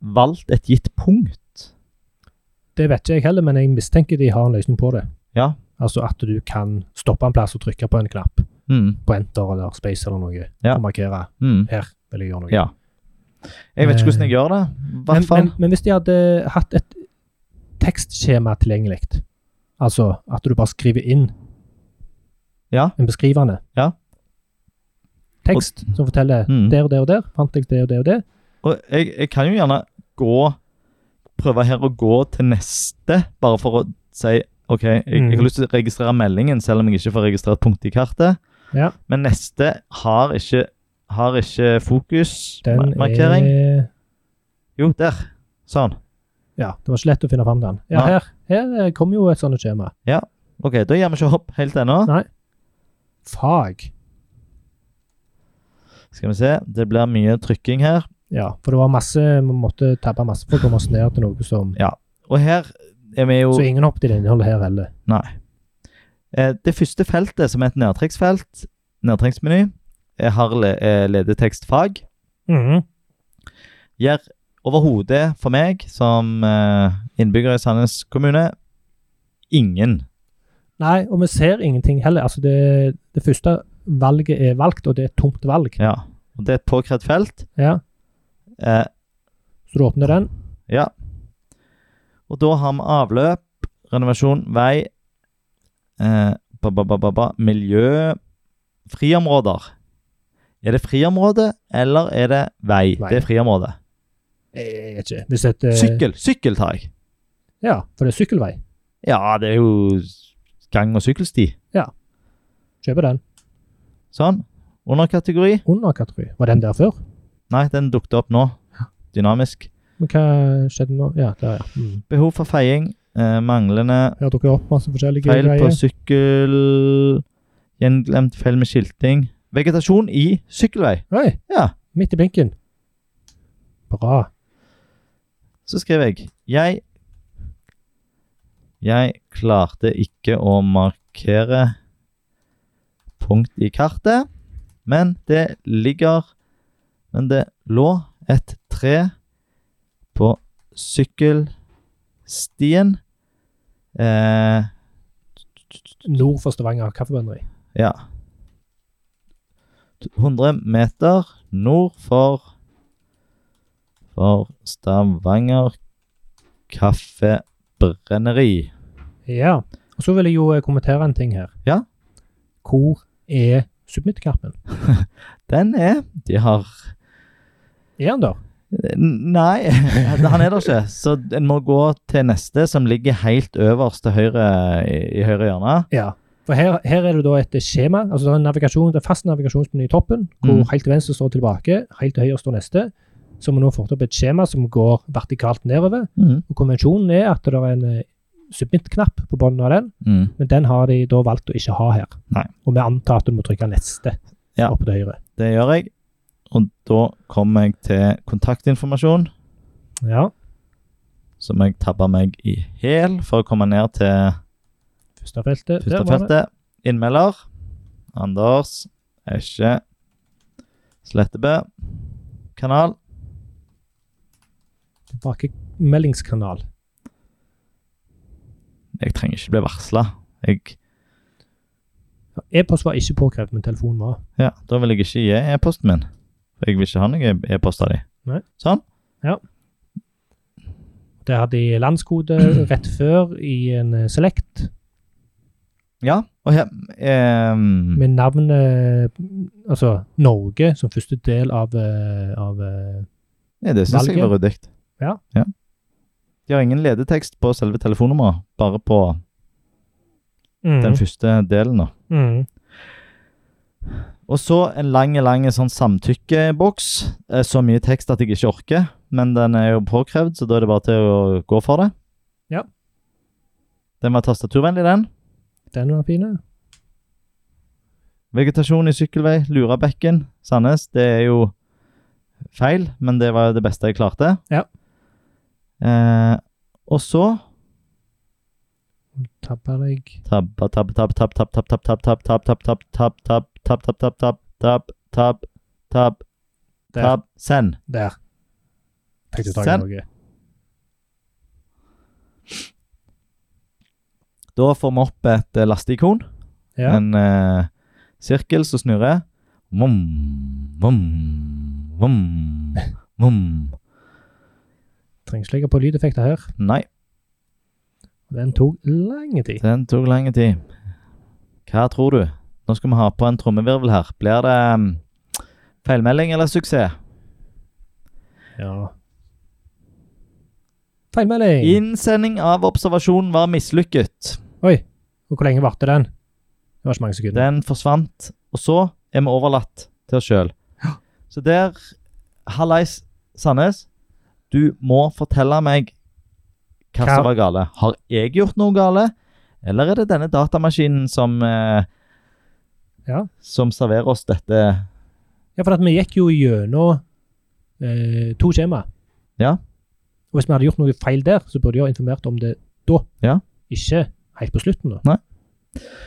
Speaker 2: valgt et gitt punkt.
Speaker 1: Det vet ikke jeg heller, men jeg mistenker de har en løsning på det.
Speaker 2: Ja.
Speaker 1: Altså at du kan stoppe en plass og trykke på en knapp,
Speaker 2: Mm,
Speaker 1: på enter eller space eller noe,
Speaker 2: Ja.
Speaker 1: og markere
Speaker 2: mm.
Speaker 1: her vil jeg gjøre noe.
Speaker 2: Ja. Jeg vet ikke hvordan jeg gjør det. i
Speaker 1: Eh, Men,
Speaker 2: Hvert
Speaker 1: men,
Speaker 2: fall.
Speaker 1: men hvis de hadde hatt et tekstskjema tilgjengelig, altså at du bare skriver inn
Speaker 2: Ja.
Speaker 1: en beskrivende
Speaker 2: Ja.
Speaker 1: tekst som forteller
Speaker 2: Mm.
Speaker 1: der og der og der, fant jeg det og det og det.
Speaker 2: Og jeg, jeg kan jo gjerne gå Prøve her å gå til neste, bare for å si OK, jeg, jeg har
Speaker 1: Mhm.
Speaker 2: lyst til å registrere meldingen, selv om jeg ikke får registrert punktet i kartet.
Speaker 1: Ja.
Speaker 2: Men neste har ikke, har ikke
Speaker 1: Den
Speaker 2: fokusmarkering.
Speaker 1: er
Speaker 2: Jo, der. Sånn.
Speaker 1: Ja, det var ikke lett å finne fram den. Ja,
Speaker 2: Nei.
Speaker 1: her, her eh, kom jo et sånt skjema.
Speaker 2: OK, da gjør vi ikke hopp helt ennå.
Speaker 1: Fag.
Speaker 2: Skal vi se. Det blir mye trykking her.
Speaker 1: Ja, for det var masse, vi måtte tabbe masse for å komme oss ned til noe som
Speaker 2: Og her er vi jo
Speaker 1: Så ingen hoppet i det innholdet her heller.
Speaker 2: eh, Det første feltet, som er et nedtrekksfelt, nedtrekksmeny, eh, har le, eh, ledetekstfag. Mhm. gjør overhodet for meg som eh, innbygger i Sandnes kommune ingen.
Speaker 1: Nei, og vi ser ingenting heller. Altså, det, det første valget er valgt, og det er et tomt valg.
Speaker 2: Ja. Og det er et påkrevd felt.
Speaker 1: Ja,
Speaker 2: Eh,
Speaker 1: Så du åpner den.
Speaker 2: ja. Og da har vi avløp, renovasjon, vei, eh, ba, ba, ba, ba, ba, miljø, friområder. Er det friområde, eller er det vei?
Speaker 1: Vei.
Speaker 2: Det er friområde.
Speaker 1: Jeg vet ikke. Hvis et, eh,
Speaker 2: Sykkel, sykkel tar jeg.
Speaker 1: Ja, for det er sykkelvei.
Speaker 2: Ja, det er jo gang- og sykkelsti.
Speaker 1: Kjøper den.
Speaker 2: Sånn. Underkategori.
Speaker 1: Under kategori. Var den der før?
Speaker 2: Nei, den dukket opp nå. Dynamisk.
Speaker 1: Men hva skjedde nå? Ja, der, ja. Mm.
Speaker 2: Behov for feiing. Eh, manglende
Speaker 1: Her dukker det opp masse forskjellige
Speaker 2: feil på
Speaker 1: greier.
Speaker 2: sykkel. Gjenglemt feil med skilting. Vegetasjon i sykkelvei.
Speaker 1: Nei,
Speaker 2: Ja.
Speaker 1: midt i blinken. Bra.
Speaker 2: Så skrev jeg Jeg Jeg klarte ikke å markere punkt i kartet, men det ligger Men det lå et tre på sykkelstien eh,
Speaker 1: Nord for Stavanger Kaffebrenneri.
Speaker 2: Ja 100 meter nord for For Stavanger Kaffebrenneri.
Speaker 1: Ja. Og så vil jeg jo eh, kommentere en ting her.
Speaker 2: Ja.
Speaker 1: Hvor er submit-knappen?
Speaker 2: Den er De har
Speaker 1: Er den der?
Speaker 2: Nei, (laughs) han er der ikke. Så en må gå til neste, som ligger helt øverst til høyre i, i høyre hjørne.
Speaker 1: Ja. For her, her er det da et skjema, altså det er en navigasjon, det er fast navigasjonsmeny i toppen, hvor
Speaker 2: Mm.
Speaker 1: helt til venstre står tilbake, helt til høyre står neste. Så har vi nå fått opp et skjema som går vertikalt nedover.
Speaker 2: Mm.
Speaker 1: Og Konvensjonen er at det er en eh, submit-knapp på bunnen av den,
Speaker 2: Mm.
Speaker 1: men den har de da valgt å ikke ha her.
Speaker 2: Nei.
Speaker 1: Og vi antar at du må trykke neste
Speaker 2: Ja.
Speaker 1: oppe til høyre.
Speaker 2: Det gjør jeg. Og da kommer jeg til kontaktinformasjon,
Speaker 1: Ja,
Speaker 2: som jeg tabba meg i hæl for å komme ned til
Speaker 1: første feltet.
Speaker 2: Første
Speaker 1: Der var det.
Speaker 2: feltet. Innmelder. Anders Esje Slettebø. Kanal.
Speaker 1: Tilbakemeldingskanal.
Speaker 2: Jeg trenger ikke bli varsla.
Speaker 1: Ja, E-post var ikke påkrevd, men telefonen var.
Speaker 2: Ja, da vil jeg ikke gi e-posten min. For jeg vil ikke ha noen e-post av de.
Speaker 1: Nei.
Speaker 2: Sånn.
Speaker 1: Det hadde de landskode rett før i en eh, select.
Speaker 2: Ja, og her ehm,
Speaker 1: med navnet Altså Norge som første del av, eh, av eh,
Speaker 2: ja, Det syns jeg
Speaker 1: valget.
Speaker 2: var ryddig.
Speaker 1: Ja.
Speaker 2: De har ingen ledetekst på selve telefonnummeret, bare på
Speaker 1: Mhm.
Speaker 2: den første delen. da.
Speaker 1: mm.
Speaker 2: Og så en lang, lang sånn samtykkeboks. Eh, Så mye tekst at jeg ikke orker, men den er jo påkrevd, så da er det bare til å gå for det.
Speaker 1: Ja.
Speaker 2: Den var tastaturvennlig, den.
Speaker 1: Den var fin. ja.
Speaker 2: Vegetasjon i sykkelvei, Lurabekken, Sandnes. Det er jo feil, men det var jo det beste jeg klarte.
Speaker 1: Ja.
Speaker 2: Eh, og så
Speaker 1: Tabba deg
Speaker 2: tabba, tabba, tabba, tabba, tabba, tabba, tabba, tabba, tabba, tabba, tabba, tabba, tabba, tabba, tabba, tabba, tabba, tabba,
Speaker 1: Der.
Speaker 2: tabba, send.
Speaker 1: der. Fikk du tak i
Speaker 2: Send.
Speaker 1: noe?
Speaker 2: Da får vi opp et eh, lasteikon,
Speaker 1: Ja.
Speaker 2: en eh, sirkel som snurrer. Vom, vom, vom, vom.
Speaker 1: Trenger ikke legge på lydeffekter her.
Speaker 2: Nei,
Speaker 1: Den tok lang tid.
Speaker 2: Den tok lang tid. Hva tror du? Nå skal vi ha på en trommevirvel her. Blir det mm, feilmelding eller suksess?
Speaker 1: Ja. Feilmelding!
Speaker 2: Innsending av observasjon var mislykket.
Speaker 1: Oi. Og hvor lenge varte den? Det var ikke mange sekunder.
Speaker 2: Den forsvant, og så er vi overlatt til oss sjøl. Så der Hallais, Sandnes. Du må fortelle meg hva
Speaker 1: Hva-
Speaker 2: som var gale. Har jeg gjort noe gale? Eller er det denne datamaskinen som eh,
Speaker 1: Ja.
Speaker 2: Som serverer oss dette
Speaker 1: Ja, for at vi gikk jo gjennom eh, to skjema.
Speaker 2: Ja.
Speaker 1: Og hvis vi hadde gjort noe feil der, så burde de ha informert om det da.
Speaker 2: Ja.
Speaker 1: Ikke helt på slutten, da.
Speaker 2: Nei.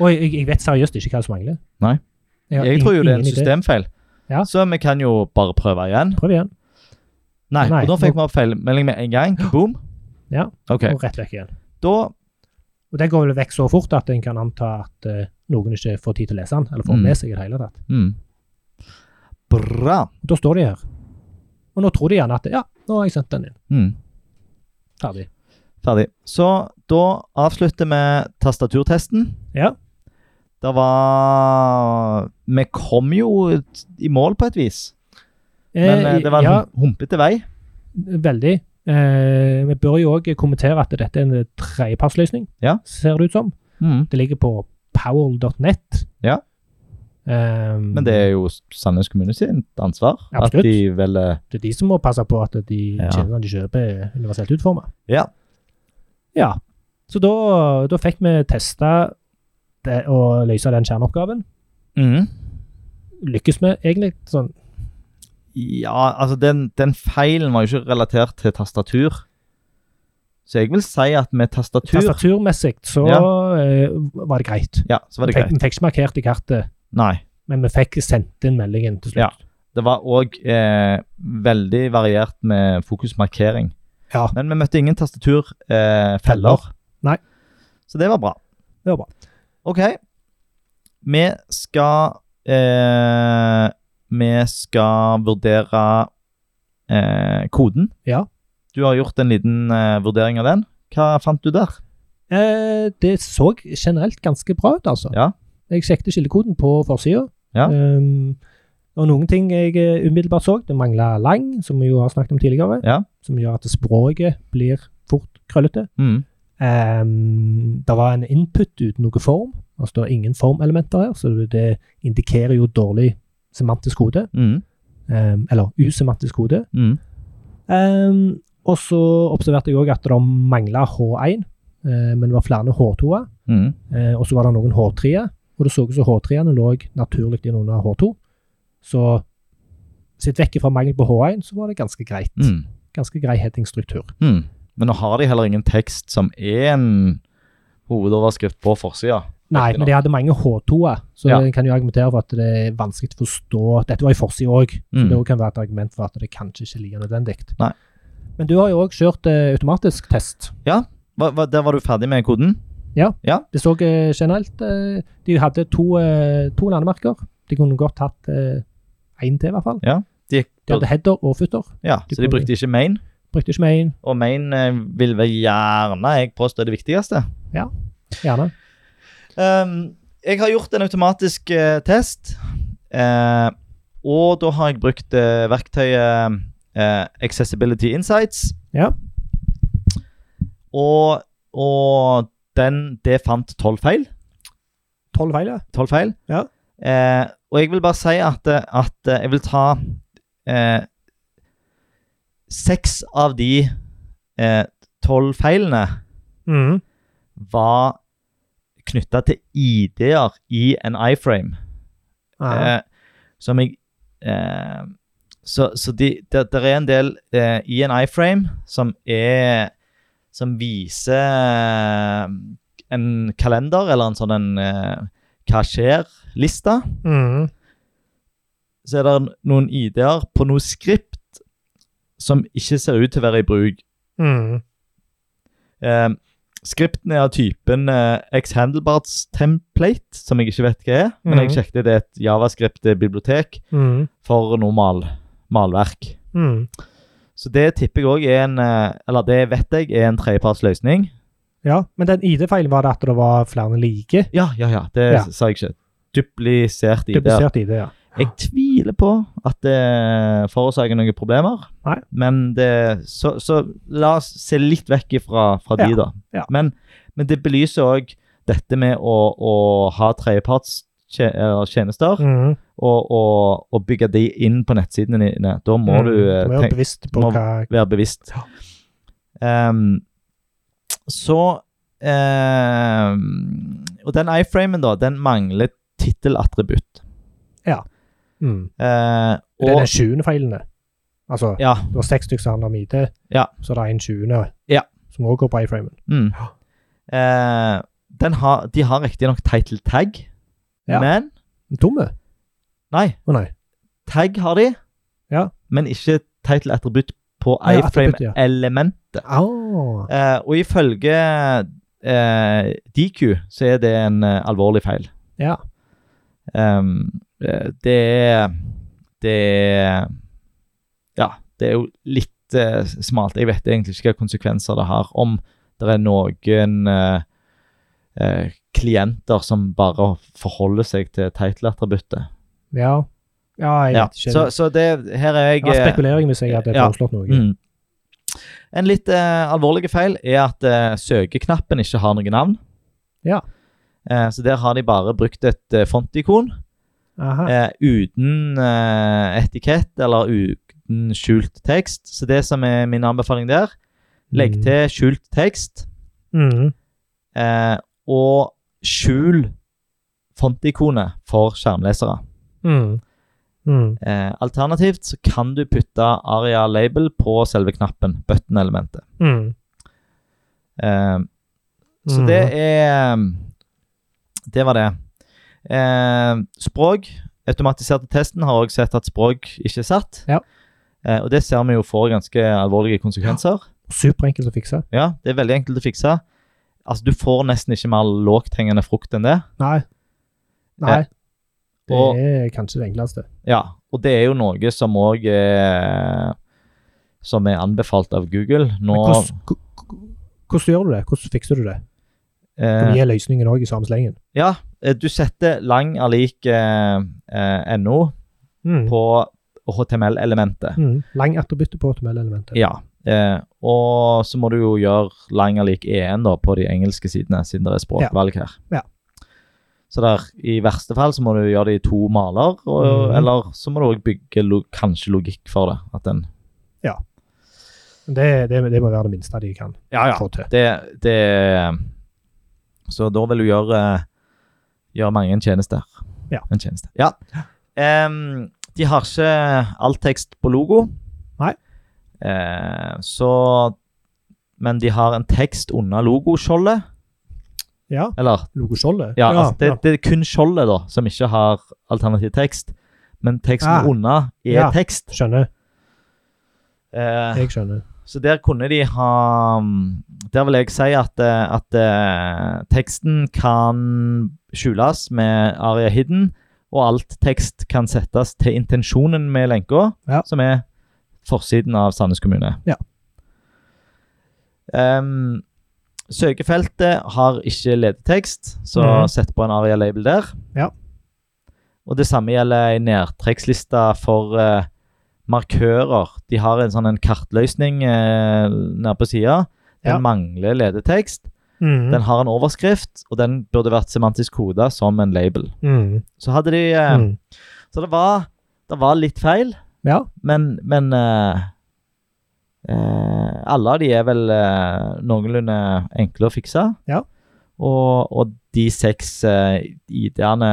Speaker 1: Og jeg, jeg vet seriøst ikke hva som mangler.
Speaker 2: Nei.
Speaker 1: har
Speaker 2: Jeg
Speaker 1: ing-
Speaker 2: tror jo det er en
Speaker 1: ingen idé.
Speaker 2: systemfeil.
Speaker 1: Ja.
Speaker 2: Så vi kan jo bare prøve igjen.
Speaker 1: Prøv igjen,
Speaker 2: Nei,
Speaker 1: Nei,
Speaker 2: og da fikk
Speaker 1: nå-
Speaker 2: vi opp feilmelding med en gang. Boom.
Speaker 1: Ja.
Speaker 2: Ok,
Speaker 1: og rett vekk igjen.
Speaker 2: Da
Speaker 1: Og den går vel vekk så fort at en kan anta at eh, noen ikke får tid til å lese den, eller får
Speaker 2: Mm.
Speaker 1: med seg i det hele tatt.
Speaker 2: mm. Bra.
Speaker 1: Og da står de her. Og nå tror de gjerne at ja, nå har jeg sendt den inn.
Speaker 2: Mm.
Speaker 1: Ferdig.
Speaker 2: Ferdig. Så da avslutter vi tastaturtesten.
Speaker 1: Ja.
Speaker 2: Det var Vi kom jo i mål på et vis, men eh, det var en
Speaker 1: ja,
Speaker 2: hum- humpete vei.
Speaker 1: Veldig. Eh, vi bør jo òg kommentere at dette er en tredjepartsløsning,
Speaker 2: Ja.
Speaker 1: ser det ut som.
Speaker 2: Mm.
Speaker 1: Det ligger på powell.net.
Speaker 2: Ja.
Speaker 1: Eh,
Speaker 2: Men det er jo Sandnes kommune sitt ansvar
Speaker 1: Absolutt.
Speaker 2: at de velger
Speaker 1: det er de som må passe på at de
Speaker 2: Ja.
Speaker 1: tjenestene de kjøper, er universelt utforma.
Speaker 2: Ja.
Speaker 1: Ja. Så da, da fikk vi testa det å løse den kjerneoppgaven.
Speaker 2: Mhm.
Speaker 1: Lykkes vi egentlig? Sånn,
Speaker 2: Ja, altså den, den feilen var jo ikke relatert til tastatur. Så jeg vil si at med tastatur
Speaker 1: tastaturmessig så eh, var det greit.
Speaker 2: Ja, så var det
Speaker 1: Vi fikk,
Speaker 2: greit.
Speaker 1: vi fikk ikke markert i kartet,
Speaker 2: Nei.
Speaker 1: men vi fikk sendt inn meldingen til
Speaker 2: Ja.
Speaker 1: slutt.
Speaker 2: Det var òg eh, veldig variert med fokusmarkering.
Speaker 1: Ja.
Speaker 2: Men vi møtte ingen tastaturfeller. Eh, feller.
Speaker 1: Nei.
Speaker 2: Så det var bra.
Speaker 1: Det var bra.
Speaker 2: OK. Vi skal eh, Vi skal vurdere eh, koden.
Speaker 1: Ja.
Speaker 2: Du har gjort en liten eh, vurdering av den. Hva fant du der?
Speaker 1: Eh, det så generelt ganske bra ut, altså.
Speaker 2: Ja.
Speaker 1: Jeg sjekket kildekoden på forsida.
Speaker 2: Ja.
Speaker 1: Um, og noen ting jeg eh, umiddelbart så, det mangla lang, som vi jo har snakket om tidligere.
Speaker 2: Ja.
Speaker 1: Som gjør at språket blir fort krøllete.
Speaker 2: Mm.
Speaker 1: Um, det var en input uten noe form. Altså det er ingen formelementer her, så det indikerer jo dårlig semantisk kode.
Speaker 2: Mm,
Speaker 1: Um, eller usemantisk kode.
Speaker 2: mm,
Speaker 1: Um, og så observerte jeg òg at det mangla H1, eh, men det var flere H2-er.
Speaker 2: mm,
Speaker 1: Eh, og så var det noen H3-er, og det så ut som H3-ene lå naturlig inn under H2. Så sett vekk fra mangel på H1, så var det ganske greit.
Speaker 2: mm,
Speaker 1: Ganske grei headingstruktur.
Speaker 2: mm. Men nå har de heller ingen tekst som er en hovedoverskrift på forsida.
Speaker 1: Nei, men de hadde mange H2-er, så
Speaker 2: Ja.
Speaker 1: en kan jo argumentere for at det er vanskelig å forstå Dette var i forsida òg, så
Speaker 2: Mm.
Speaker 1: det også kan være et argument for at det kanskje ikke ligger nødvendig.
Speaker 2: Nei.
Speaker 1: Men du har jo òg kjørt eh, automatisk test.
Speaker 2: Hva, hva, der var du ferdig med koden?
Speaker 1: Det så eh, generelt eh, De hadde to, eh, to landemerker. De kunne godt hatt én til, i hvert fall.
Speaker 2: De,
Speaker 1: De hadde header og footer.
Speaker 2: ja, så de brukte ikke main.
Speaker 1: Brukte ikke main,
Speaker 2: Og main eh, vil vel gjerne jeg påstå er det viktigste.
Speaker 1: gjerne.
Speaker 2: Ehm, jeg har gjort en automatisk eh, test, eh, og da har jeg brukt eh, verktøyet eh, Accessibility Insights.
Speaker 1: Ja.
Speaker 2: Og, og den, det fant tolv feil.
Speaker 1: Tolv feil, ja.
Speaker 2: tolv feil.
Speaker 1: Ja.
Speaker 2: Eh, og jeg vil bare si at, at jeg vil ta eh, Seks av de eh, tolv feilene
Speaker 1: Mm.
Speaker 2: var knytta til ID-er i en iframe.
Speaker 1: Ja.
Speaker 2: Eh, som jeg eh, Så, så de, der, der er en del eh, i en iframe som er Som viser eh, en kalender eller en sånn en eh, Hva skjer-lista.
Speaker 1: Mm.
Speaker 2: Så er det noen ID-er på noe skript som ikke ser ut til å være i bruk.
Speaker 1: Mm.
Speaker 2: Eh, skripten er av typen eh, Xhandlebarts template, som jeg ikke vet hva er. Men jeg
Speaker 1: Mhm.
Speaker 2: sjekket det er et javascript-bibliotek
Speaker 1: Mm.
Speaker 2: for noe mal, malverk. Så det tipper jeg òg er en eh, Eller det vet jeg er en tredjepartsløsning.
Speaker 1: ja. Men den ID-feilen var det at det var flere like.
Speaker 2: Ja, ja, ja. Det
Speaker 1: Ja.
Speaker 2: sa jeg ikke. Duplisert altså. ID.
Speaker 1: Duplisert ID, ja.
Speaker 2: Jeg tviler på at det forårsaker noen problemer.
Speaker 1: Nei.
Speaker 2: Men det, så, så la oss se litt vekk fra, fra de,
Speaker 1: Ja,
Speaker 2: da.
Speaker 1: ja.
Speaker 2: Men, men det belyser òg dette med å, å ha tredjepartstjenester
Speaker 1: Mm.
Speaker 2: og, og, og bygge de inn på nettsidene dine. Da må
Speaker 1: Mm.
Speaker 2: du eh,
Speaker 1: være
Speaker 2: tenk-
Speaker 1: bevisst på
Speaker 2: må-
Speaker 1: hva
Speaker 2: være bevisst. Ehm, så ehm, Og den iframen, da, den mangler tittelattributt.
Speaker 1: mm.
Speaker 2: Eh,
Speaker 1: Det er
Speaker 2: og
Speaker 1: den 20. feilen, det. Altså,
Speaker 2: Ja.
Speaker 1: det var seks stykker som handler om ID,
Speaker 2: Ja.
Speaker 1: så det er en 20.
Speaker 2: Ja.
Speaker 1: som også går på iframen.
Speaker 2: Mm. Eh, den har, de har riktignok title tag,
Speaker 1: Ja.
Speaker 2: men
Speaker 1: Dumme?
Speaker 2: Nei,
Speaker 1: Å nei.
Speaker 2: tag har de,
Speaker 1: Ja.
Speaker 2: men ikke title attributt på
Speaker 1: Ja, attributt, ja.
Speaker 2: iframe-elementet.
Speaker 1: Au.
Speaker 2: Eh, og ifølge eh, DQ så er det en eh, alvorlig feil.
Speaker 1: Ja.
Speaker 2: Ehm, eh, det er Det er Ja, det er jo litt eh, smalt. Jeg vet egentlig ikke hva konsekvenser det har. Om det er noen eh, eh, klienter som bare forholder seg til title-attributtet.
Speaker 1: Ja. ja, jeg
Speaker 2: Ja,
Speaker 1: vet ikke.
Speaker 2: så, så det her er jeg
Speaker 1: det var
Speaker 2: eh,
Speaker 1: spekulering hvis jeg hadde
Speaker 2: Ja.
Speaker 1: foreslått noe.
Speaker 2: Mm. En litt eh, alvorlig feil er at eh, søkeknappen ikke har noe navn.
Speaker 1: Ja.
Speaker 2: Eh, så der har de bare brukt et eh, fontikon
Speaker 1: Aha.
Speaker 2: eh, uten eh, etikett eller uten skjult tekst. Så det som er min anbefaling der, legg til skjult tekst,
Speaker 1: Mm.
Speaker 2: eh, og skjul fontikonet for skjermlesere.
Speaker 1: Mm. Mm.
Speaker 2: Eh, alternativt så kan du putte aria label på selve knappen, button-elementet.
Speaker 1: Mm.
Speaker 2: Eh, Så det
Speaker 1: Mhm.
Speaker 2: er Det var det. Eh, språk. Automatiserte testen har også sett at språk ikke er satt.
Speaker 1: Ja.
Speaker 2: Eh, og det ser vi jo får ganske alvorlige konsekvenser.
Speaker 1: Superenkelt å fikse.
Speaker 2: Ja, Det er veldig enkelt å fikse. Altså, Du får nesten ikke mer lågthengende frukt enn det.
Speaker 1: Nei. Nei. Det
Speaker 2: Og,
Speaker 1: er kanskje det enkleste.
Speaker 2: ja, og det er jo noe som òg eh, Som er anbefalt av Google. Nå
Speaker 1: Men hvordan, ko- ko- hvordan gjør du det? Hvordan fikser du det? Du
Speaker 2: eh,
Speaker 1: gir løsningen òg i samme slengen.
Speaker 2: Ja, eh, du setter lang alik eh, eh, no
Speaker 1: Mm.
Speaker 2: på HTML-elementet.
Speaker 1: Mm. Lang etterbytte på HTML-elementet.
Speaker 2: Ja. Eh, og så må du jo gjøre Langer lik EN da, på de engelske sidene, siden det er språkvalg her.
Speaker 1: Ja.
Speaker 2: Så der, i verste fall så må du gjøre det i to maler, og,
Speaker 1: Mhm.
Speaker 2: eller så må du også bygge lo kanskje logikk for det. At den,
Speaker 1: Det, det, det må være det minste de kan få til.
Speaker 2: Det, det Så da vil du gjøre, gjøre mange en tjeneste. her.
Speaker 1: Ja.
Speaker 2: En tjeneste. Ja. Em, de har ikke all tekst på logo.
Speaker 1: Nei.
Speaker 2: Eh, så Men de har en tekst under logoskjoldet.
Speaker 1: Ja,
Speaker 2: Eller
Speaker 1: Logoskjoldet?
Speaker 2: ja, altså, det, det er kun skjoldet da, som ikke har alternativ tekst. Men teksten
Speaker 1: Ah.
Speaker 2: under er
Speaker 1: Ja.
Speaker 2: tekst.
Speaker 1: Skjønner.
Speaker 2: Eh,
Speaker 1: Jeg skjønner.
Speaker 2: så der kunne de ha mm, Der vil jeg si at, eh, at eh, teksten kan skjules med aria hidden, og alt tekst kan settes til intensjonen med lenka,
Speaker 1: Ja.
Speaker 2: som er forsiden av Sandnes kommune.
Speaker 1: Ja.
Speaker 2: Em, søkefeltet har ikke ledetekst, så
Speaker 1: Mhm.
Speaker 2: sett på en aria-label der.
Speaker 1: Ja.
Speaker 2: Og det samme gjelder ei nedtrekksliste for eh, markører. De har en sånn en kartløsning eh, nede på sida. Den
Speaker 1: Ja.
Speaker 2: mangler ledetekst.
Speaker 1: Mm.
Speaker 2: Den har en overskrift, og den burde vært semantisk koda som en label.
Speaker 1: Mm.
Speaker 2: Så hadde de eh,
Speaker 1: Mm.
Speaker 2: Så det var, det var litt feil,
Speaker 1: Ja.
Speaker 2: men, men eh, eh, Alle av de er vel eh, noenlunde enkle å fikse.
Speaker 1: Ja.
Speaker 2: Og, og de seks eh, ID-ene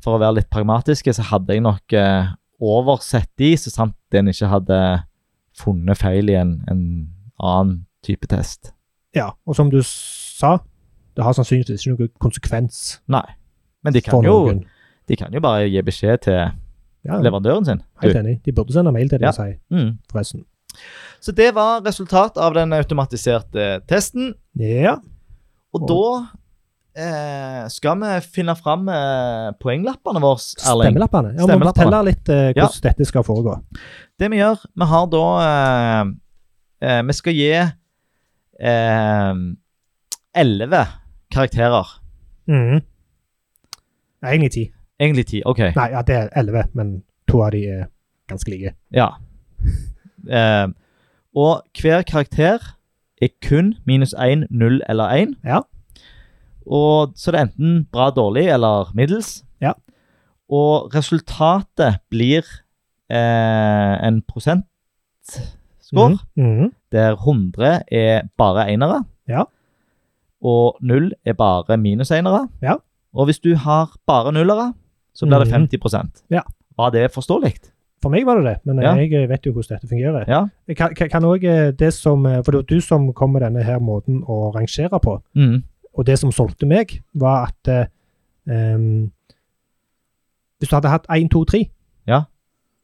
Speaker 2: For å være litt pragmatiske, så hadde jeg nok eh, oversett de, så sant en ikke hadde funnet feil i en, en annen type test.
Speaker 1: ja. Og som du sa, det har sannsynligvis ikke noen konsekvens
Speaker 2: Nei. Men de kan,
Speaker 1: for
Speaker 2: jo,
Speaker 1: noen.
Speaker 2: de kan jo bare gi beskjed til
Speaker 1: Ja,
Speaker 2: leverandøren sin. Du,
Speaker 1: helt enig. De burde sende mail til deg
Speaker 2: Ja.
Speaker 1: og si,
Speaker 2: mm.
Speaker 1: forresten.
Speaker 2: Så det var resultat av den automatiserte testen.
Speaker 1: Ja.
Speaker 2: Og
Speaker 1: Og-
Speaker 2: da eh, skal vi finne fram eh, poenglappene våre, Erling.
Speaker 1: Stemmelappene. Ja, må
Speaker 2: Stemmelappene.
Speaker 1: fortelle litt eh,
Speaker 2: Ja.
Speaker 1: hvordan dette skal foregå.
Speaker 2: Det vi gjør, vi har da eh, eh, Vi skal gi eh, elleve karakterer.
Speaker 1: Mm. Nei, egentlig ti.
Speaker 2: Egentlig ti. OK.
Speaker 1: Nei, ja, det er elleve, men to av de er ganske like.
Speaker 2: Ja. Eh, og hver karakter er kun minus én, null eller én.
Speaker 1: Ja.
Speaker 2: Og så det er enten bra, dårlig eller middels.
Speaker 1: Ja.
Speaker 2: Og resultatet blir eh, en prosentscore
Speaker 1: Mm. Mm.
Speaker 2: der 100 er bare enere.
Speaker 1: Ja.
Speaker 2: Og 0 er bare minus enere.
Speaker 1: Ja.
Speaker 2: Og hvis du har bare nullere, så blir det
Speaker 1: Mhm.
Speaker 2: 50
Speaker 1: Ja.
Speaker 2: Var det forståelig?
Speaker 1: For meg var det det, men eh,
Speaker 2: Ja.
Speaker 1: jeg vet jo hvordan dette fungerer.
Speaker 2: Ja.
Speaker 1: Jeg Kan, kan- kan også, eh, det som, eh, for det var du som kom med denne her måten å rangere på.
Speaker 2: Mm.
Speaker 1: Og det som solgte meg, var at eh, ehm, Hvis du hadde hatt én, to, tre,
Speaker 2: Ja.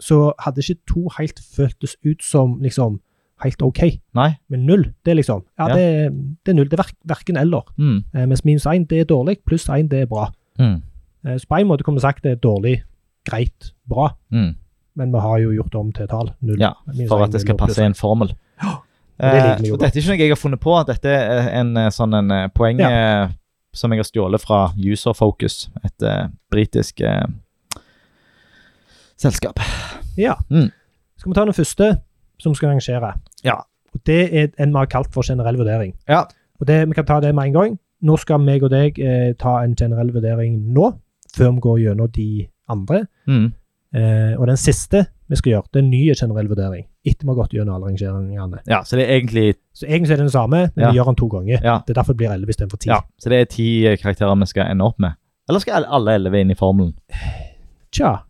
Speaker 1: så hadde ikke to helt føltes ut som liksom helt OK.
Speaker 2: Nei?
Speaker 1: Men null, det er liksom Ja,
Speaker 2: Ja.
Speaker 1: Det, det er null. Det er verk, verken eller.
Speaker 2: Mm.
Speaker 1: Eh, mens minus én, det er dårlig. Pluss én, det er bra.
Speaker 2: Mm.
Speaker 1: Eh, så på en måte kunne vi sagt det er dårlig, greit, bra.
Speaker 2: Mm.
Speaker 1: Men vi har jo gjort om til tall. Null.
Speaker 2: Ja,
Speaker 1: minus
Speaker 2: for
Speaker 1: én,
Speaker 2: at det
Speaker 1: null
Speaker 2: skal
Speaker 1: og pluss
Speaker 2: passe i en (gasps) formel.
Speaker 1: og det liker
Speaker 2: Eh,
Speaker 1: vi jo
Speaker 2: så
Speaker 1: godt.
Speaker 2: dette er ikke noe jeg har funnet på. Dette er en eh, sånn en eh, poeng eh, som jeg har stjålet fra User Focus, et eh, britisk eh, selskap.
Speaker 1: Ja.
Speaker 2: Mm.
Speaker 1: Skal vi ta den første som skal rangere?
Speaker 2: Ja.
Speaker 1: Og Det er en vi har kalt for generell vurdering.
Speaker 2: Ja.
Speaker 1: Og det, Vi kan ta det med en gang. Nå skal meg og deg eh, ta en generell vurdering nå, før vi går gjennom de andre.
Speaker 2: Mm.
Speaker 1: Eh, og den siste vi skal gjøre, det er en ny generell vurdering. Etter vi har gått gjennom alle rangeringene.
Speaker 2: ja, så det er egentlig
Speaker 1: Så egentlig er det den samme, men
Speaker 2: Ja.
Speaker 1: vi gjør den to ganger.
Speaker 2: ja,
Speaker 1: Det er derfor det blir 11 istedenfor 10.
Speaker 2: ja, så det er ti eh, karakterer vi skal ende opp med. Eller skal alle- alle elleve inn i formelen?
Speaker 1: Tja.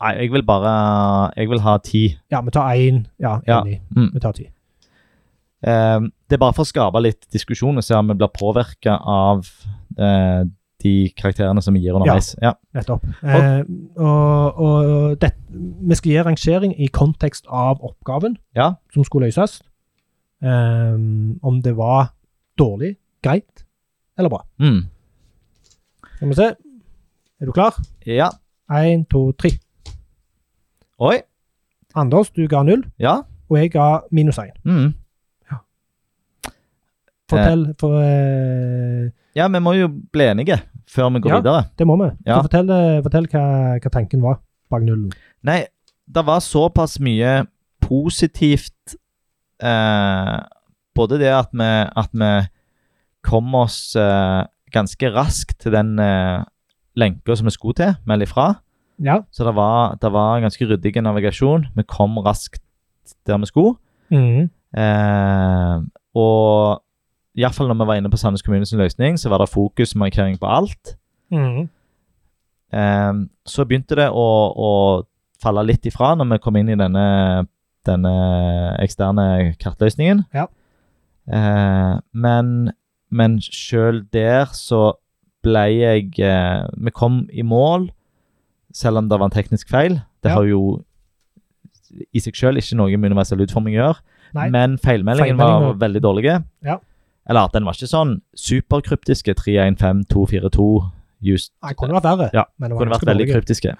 Speaker 2: Nei, jeg vil bare Jeg vil ha ti.
Speaker 1: Ja, vi tar én. Ja,
Speaker 2: Ja.
Speaker 1: enig.
Speaker 2: Mm.
Speaker 1: Vi tar ti.
Speaker 2: Eh, det er bare for å skape litt diskusjon og se om vi blir påvirka av eh, de karakterene som vi gir underveis. Ja.
Speaker 1: Nettopp. Eh, og og det, vi skal gi rangering i kontekst av oppgaven
Speaker 2: Ja.
Speaker 1: som skulle løses. Ehm, om det var dårlig, greit eller bra.
Speaker 2: Mm.
Speaker 1: Skal vi se. Er du klar?
Speaker 2: ja.
Speaker 1: Én, to, tre.
Speaker 2: Oi.
Speaker 1: Anders, du ga null,
Speaker 2: Ja.
Speaker 1: og jeg ga minus én.
Speaker 2: Mm.
Speaker 1: Fortell for eh,
Speaker 2: Ja, vi må jo bli enige før vi går
Speaker 1: Ja.
Speaker 2: videre.
Speaker 1: Det må vi.
Speaker 2: Ja.
Speaker 1: Så fortell, eh, fortell hva, hva tanken var bak nullen.
Speaker 2: Nei, det var såpass mye positivt eh, Både det at vi, at vi kom oss eh, ganske raskt til den eh, lenka som vi skulle til, meld ifra.
Speaker 1: Ja.
Speaker 2: Så det var, det var en ganske ryddig navigasjon. Vi kom raskt der vi skulle.
Speaker 1: Mhm.
Speaker 2: Eh, og iallfall når vi var inne på Sandnes kommunes løsning, så var det fokusmarkering på alt.
Speaker 1: Mhm.
Speaker 2: Eh, så begynte det å, å falle litt ifra når vi kom inn i denne, denne eksterne kartløsningen.
Speaker 1: Ja.
Speaker 2: Eh, men, men sjøl der så ble jeg eh, Vi kom i mål, selv om det var en teknisk feil. Det
Speaker 1: Ja.
Speaker 2: har jo i seg sjøl ikke noe med universell utforming å gjøre.
Speaker 1: Nei.
Speaker 2: Men feilmeldingen
Speaker 1: Feilmeldingen
Speaker 2: var
Speaker 1: var-
Speaker 2: veldig dårlig.
Speaker 1: Ja.
Speaker 2: Eller at den var ikke sånn superkryptiske 315242 just.
Speaker 1: Nei, det kunne vært verre.
Speaker 2: Ja,
Speaker 1: men det var
Speaker 2: Kunne vært
Speaker 1: ganske
Speaker 2: veldig
Speaker 1: dårlig.
Speaker 2: kryptiske.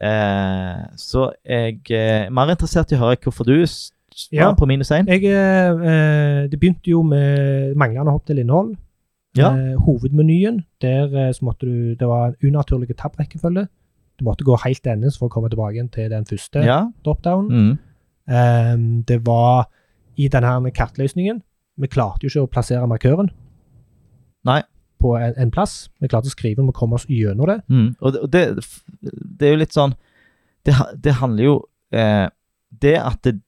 Speaker 2: Eh, så jeg eh, er mer interessert i å høre hvorfor du s- s- var
Speaker 1: Ja.
Speaker 2: på minus én.
Speaker 1: Jeg, eh, eh, det begynte jo med manglende hopp til innhold.
Speaker 2: Ja.
Speaker 1: Eh, hovedmenyen, der eh, så måtte du, det var en unaturlig tabrekkefølge. Du måtte gå helt til endes for å komme tilbake igjen til den første
Speaker 2: Ja.
Speaker 1: drop-down.
Speaker 2: Mm.
Speaker 1: Eh, det var i denne kartløsningen. Vi klarte jo ikke å plassere markøren
Speaker 2: Nei.
Speaker 1: på en, en plass. Vi klarte å skrive den, vi kom oss gjennom det.
Speaker 2: Mm. Og, det, og det, f- det er jo litt sånn Det, ha- det handler jo eh, Det at det,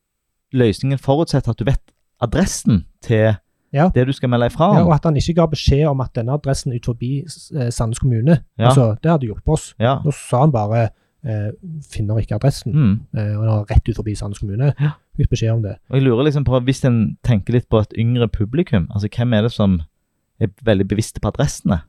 Speaker 2: løsningen forutsetter at du vet adressen til
Speaker 1: Ja.
Speaker 2: det du skal melde ifra
Speaker 1: Ja,
Speaker 2: om.
Speaker 1: og at han ikke ga beskjed om at denne adressen ut forbi eh, Sandnes kommune,
Speaker 2: Ja.
Speaker 1: altså, det hadde hjulpet oss.
Speaker 2: Ja.
Speaker 1: Nå sa han bare eh, 'finner ikke adressen',
Speaker 2: Mm.
Speaker 1: eh, og den var rett ut forbi Sandnes kommune.
Speaker 2: Ja.
Speaker 1: Fikk beskjed om det.
Speaker 2: Og jeg lurer liksom på, Hvis en tenker litt på et yngre publikum, altså hvem er det som er veldig bevisste på adressene?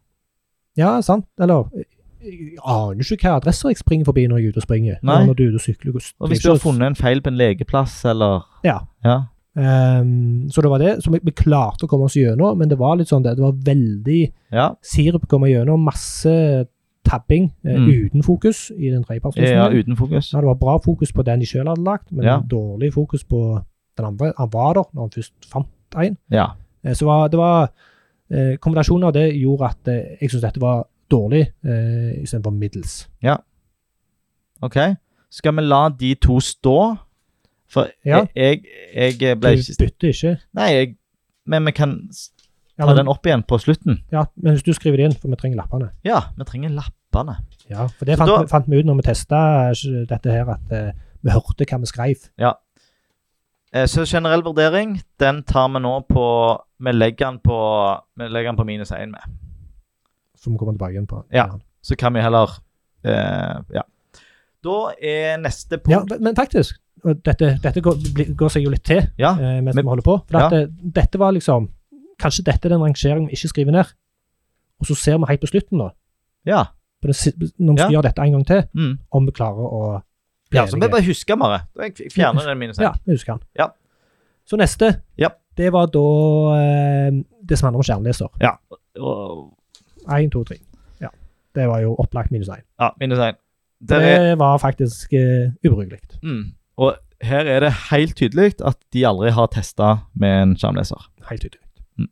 Speaker 1: Ja, sant, eller eh, Jeg aner ikke hvilke adresser jeg springer forbi når jeg er ute og springer.
Speaker 2: Nei.
Speaker 1: Eller Når du er ute og sykler.
Speaker 2: Og Hvis du har funnet en feil på en legeplass, eller
Speaker 1: Ja.
Speaker 2: ja.
Speaker 1: Ehm, Så det var det. Så vi, vi klarte å komme oss gjennom, men det var litt sånn det, det var veldig
Speaker 2: ja.
Speaker 1: sirup å komme gjennom. Masse tabbing eh,
Speaker 2: Mm.
Speaker 1: uten fokus i den trepartsløsningen.
Speaker 2: ja, Uten fokus.
Speaker 1: Ja, det var bra fokus på den de sjøl hadde lagt, men
Speaker 2: Ja.
Speaker 1: dårlig fokus på den andre. Han var der når han først fant en.
Speaker 2: Ja.
Speaker 1: Eh, Så var, det var eh, Kombinasjonen av det gjorde at eh, jeg syntes dette var dårlig eh, istedenfor middels.
Speaker 2: OK. Skal vi la de to stå? For
Speaker 1: Ja.
Speaker 2: jeg, jeg, jeg
Speaker 1: Du
Speaker 2: ble ikke
Speaker 1: bytter ikke.
Speaker 2: Nei, jeg, men vi kan s-
Speaker 1: Ja,
Speaker 2: ta
Speaker 1: men,
Speaker 2: den opp igjen på slutten.
Speaker 1: ja, men hvis du skriver det inn, for vi trenger lappene.
Speaker 2: Ja, vi trenger lappene.
Speaker 1: Ja, for det
Speaker 2: Så
Speaker 1: fant,
Speaker 2: da-
Speaker 1: vi- fant vi ut når vi testa dette her, at eh, vi hørte hva vi skrev.
Speaker 2: Eh, Så generell vurdering, den tar vi nå på Vi legger den på, vi legger den på minus én med.
Speaker 1: Som vi kommer tilbake igjen på.
Speaker 2: Ja. så kan vi heller eh, Ja. Da er neste
Speaker 1: Ja,
Speaker 2: punkt
Speaker 1: men faktisk, og dette, dette går, blir- går seg jo litt til
Speaker 2: Ja.
Speaker 1: eh, mens
Speaker 2: men-
Speaker 1: vi holder på. For at, eh, dette var liksom Kanskje dette er den rangeringen vi ikke skriver ned. Og så ser vi helt på slutten, da,
Speaker 2: Ja.
Speaker 1: på den, si- når vi skal
Speaker 2: Ja.
Speaker 1: gjøre dette en gang til,
Speaker 2: Mm.
Speaker 1: om vi klarer å bli
Speaker 2: ja så vi
Speaker 1: enige.
Speaker 2: bare husker bare. Da Jeg f- fjerner den minusen.
Speaker 1: Ja, vi husker den.
Speaker 2: Ja.
Speaker 1: Så neste,
Speaker 2: Ja.
Speaker 1: det var da eh, det som handler om skjermleser.
Speaker 2: Og-
Speaker 1: Én, to, tre. Ja. Det var jo opplagt minus én.
Speaker 2: Ja, minus én. Der er
Speaker 1: Det var faktisk eh, ubrukelig.
Speaker 2: mm. Og her er det helt tydelig at de aldri har testa med en skjermleser.
Speaker 1: Helt tydelig.
Speaker 2: Mm.